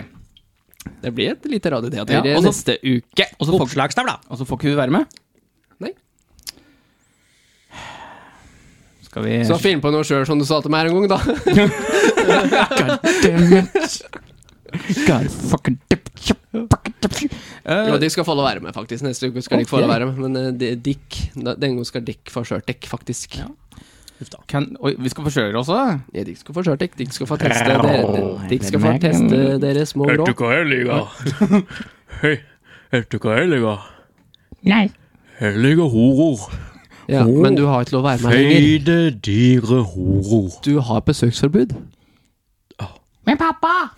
[SPEAKER 2] Det blir et lite radioteater
[SPEAKER 3] Ja,
[SPEAKER 2] ja,
[SPEAKER 3] og
[SPEAKER 1] altså,
[SPEAKER 3] så-
[SPEAKER 2] neste uke.
[SPEAKER 3] Og så får, og så får ikke hun være med?
[SPEAKER 2] Nei.
[SPEAKER 3] Skal vi
[SPEAKER 2] Så finn på noe sjøl, som du sa til meg her en gang, da.
[SPEAKER 3] God fucking dip, chip, fucking dip.
[SPEAKER 2] Jo,
[SPEAKER 3] Eh,
[SPEAKER 2] de skal få lov å være med, faktisk. Neste uke skal de ikke få lov å være med. Men eh, de- Dick, da- den gangen skal Dick få sjøl dekk, faktisk.
[SPEAKER 1] Huff da.
[SPEAKER 3] Kan, oi, vi skal forsøke oss òg.
[SPEAKER 2] Ja, de skal få kjørt dere. De skal få teste dere, de skal få teste dere små råd.
[SPEAKER 1] hva jeg liker? Hei, vet du hva jeg liker?
[SPEAKER 5] Nei.
[SPEAKER 1] Jeg liker horor.
[SPEAKER 2] Ja, men du har ikke lov å være med lenger.
[SPEAKER 1] dyre horor.
[SPEAKER 2] Du har besøksforbud.
[SPEAKER 5] Men pappa,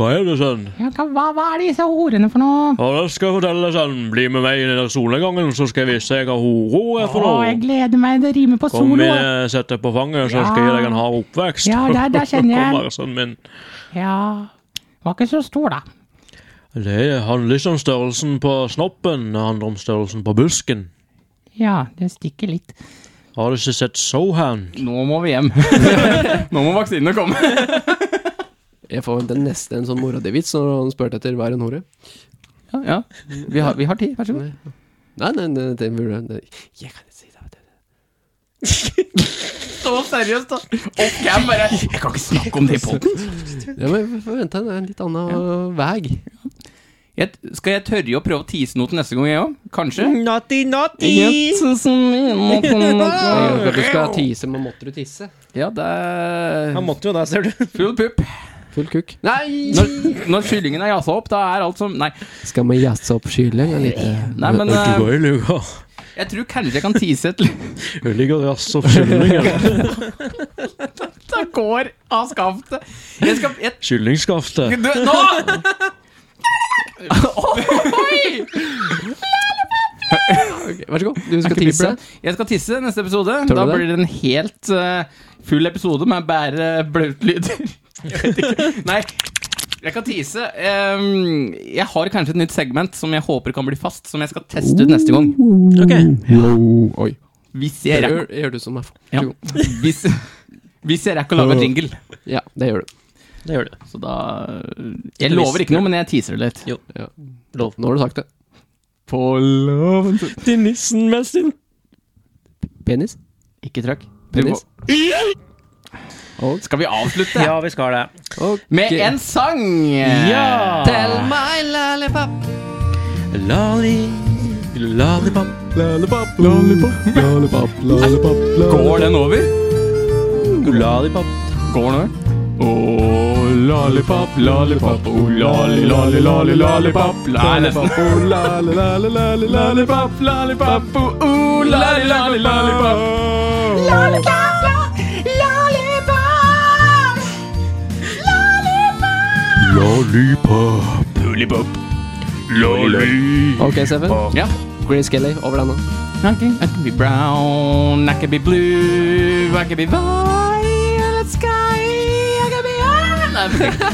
[SPEAKER 1] Hva er det, sønn?
[SPEAKER 5] ja, hva, hva- hva er disse horene for noe?
[SPEAKER 1] Ja, det skal jeg fortelle deg, sønn. Bli med meg i den der solnedgangen, så skal jeg vise deg hva horor er for
[SPEAKER 5] Å, jeg
[SPEAKER 1] noe.
[SPEAKER 5] gleder meg, det rimer på
[SPEAKER 1] Kom
[SPEAKER 5] solo.
[SPEAKER 1] igjen, sett deg på fanget, så skal jeg gi deg en hard oppvekst.
[SPEAKER 5] Ja, der- der kjenner jeg
[SPEAKER 1] Kom
[SPEAKER 5] den.
[SPEAKER 1] her, sønnen min.
[SPEAKER 5] Ja, var ikke så stor da.
[SPEAKER 1] Det handler ikke om størrelsen på snoppen, det handler om størrelsen på busken.
[SPEAKER 5] Ja, det stikker litt.
[SPEAKER 1] Har du ikke sett Sohan?
[SPEAKER 3] Nå må vi hjem. Nå må vaksinene komme.
[SPEAKER 2] Jeg får den neste en sånn mora di vits når han spurte etter hva er en hore.
[SPEAKER 3] Ja, ja. Vi, har, vi har tid, vær så god.
[SPEAKER 2] Nei, nei, nei, det burde det- Jeg kan ikke si det. vet du.
[SPEAKER 3] Så seriøst, da. Ok, jeg bare Jeg kan ikke snakke om det i poden.
[SPEAKER 2] Ja, men vi får vente en- en litt annen vei.
[SPEAKER 3] Skal jeg tørre å prøve å tease noe til neste gang, jeg òg? Kanskje?
[SPEAKER 1] Naughty, naughty!
[SPEAKER 2] Jeg hører at Du skal tise, men måtte du tisse?
[SPEAKER 3] Ja, det er
[SPEAKER 1] Han måtte jo det, ser du.
[SPEAKER 3] Full pupp.
[SPEAKER 2] Full kukk. Nei!
[SPEAKER 3] Når, når kyllingen er jazza opp, da er alt som Nei,
[SPEAKER 2] Skal vi jazze opp skylingen litt?
[SPEAKER 3] nei men
[SPEAKER 1] Vet du
[SPEAKER 3] eh,
[SPEAKER 1] hva jeg liker?
[SPEAKER 3] jeg tror kanskje jeg kan tease et litt.
[SPEAKER 1] Jeg liker rass og kyllingen.
[SPEAKER 3] Det går av skaftet. Jeg skal jeg,
[SPEAKER 1] Kyllingskaftet.
[SPEAKER 3] du, Nå! Oi!
[SPEAKER 2] Ok, Vær så god, du skal
[SPEAKER 3] Ikke bli
[SPEAKER 2] tisse.
[SPEAKER 3] bløt. Jeg skal tisse neste episode.
[SPEAKER 2] Tør du
[SPEAKER 3] Da
[SPEAKER 2] det?
[SPEAKER 3] blir det en helt eh, full episode med bare blautlyder. Jeg vet ikke. Nei, jeg kan tise. Ehm, jeg har kanskje et nytt segment som jeg håper kan bli fast, som jeg skal teste ut neste gang.
[SPEAKER 1] Ok.
[SPEAKER 2] Wow, Oi.
[SPEAKER 3] Hvis
[SPEAKER 2] Det
[SPEAKER 3] jeg rekker,
[SPEAKER 2] gjør, det gjør du som er f-
[SPEAKER 3] ja.
[SPEAKER 2] Jo.
[SPEAKER 3] hvis, hvis jeg rekker å lage jingle.
[SPEAKER 2] Ja, det gjør du.
[SPEAKER 1] Det gjør det.
[SPEAKER 3] Så da Jeg lover ikke noe, men jeg teaser det litt.
[SPEAKER 2] Lov. Nå har du sagt det.
[SPEAKER 3] På loven
[SPEAKER 1] Til nissen med sin
[SPEAKER 2] Penis?
[SPEAKER 3] Ikke trøkk.
[SPEAKER 2] Penis?
[SPEAKER 3] Skal vi avslutte
[SPEAKER 1] Ja, vi skal det.
[SPEAKER 2] Ok.
[SPEAKER 3] med en sang?
[SPEAKER 1] Ja!
[SPEAKER 2] Tell my lollipop.
[SPEAKER 1] Lolly, lollipop.
[SPEAKER 3] Går den over?
[SPEAKER 1] Lollipop.
[SPEAKER 3] Går den over? Oh, lollipop, lollipop, oh, lolly, lolly, lolly, lollipop. Lollipop, oh, lolly, lolly, lolly, lollipop, lollipop, oh, oh, lolly, lolly, lollipop.
[SPEAKER 6] Lollipop. Lollipop.
[SPEAKER 2] Ok, Seven.
[SPEAKER 3] Ja.
[SPEAKER 2] Grace Kelly, over denne.
[SPEAKER 3] I can, I can be brown, I can be blue, I can be violet sky, I can be Nei,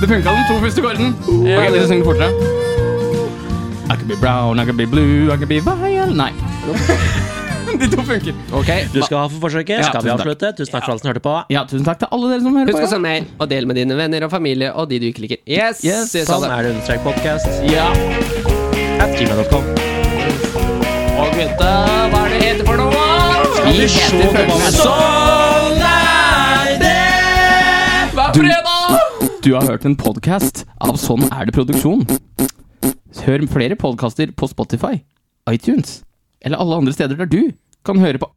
[SPEAKER 3] Det funka de to første gården. Jeg kan ikke synge fortere. I can be brown, I can be blue, I can be violet Nei. De to funker.
[SPEAKER 2] Ok.
[SPEAKER 1] Du skal ha for forsøket.
[SPEAKER 3] Ja,
[SPEAKER 1] skal vi
[SPEAKER 3] tusen takk.
[SPEAKER 1] avslutte? Tusen takk for alle som hørte på.
[SPEAKER 3] Ja, tusen takk til alle dere som hører
[SPEAKER 2] Husk å
[SPEAKER 3] på.
[SPEAKER 2] sende mail, og del med dine venner og familie og de du ikke liker. Yes!
[SPEAKER 3] Yes,
[SPEAKER 2] jeg sa
[SPEAKER 1] Sånn
[SPEAKER 2] det.
[SPEAKER 1] er det understrek podcast.
[SPEAKER 3] Ja.
[SPEAKER 1] At gmail.com.
[SPEAKER 2] Og gutta, hva er det heter for noe?
[SPEAKER 1] Skal vi se
[SPEAKER 3] heter
[SPEAKER 1] det var
[SPEAKER 3] Følelsen.
[SPEAKER 1] Sånn er det!
[SPEAKER 2] Hver fredag!
[SPEAKER 3] Du har hørt en podkast av Sånn er det produksjon. Hør flere podkaster på Ah, Spotify, iTunes eller alle andre steder der du kan høre på.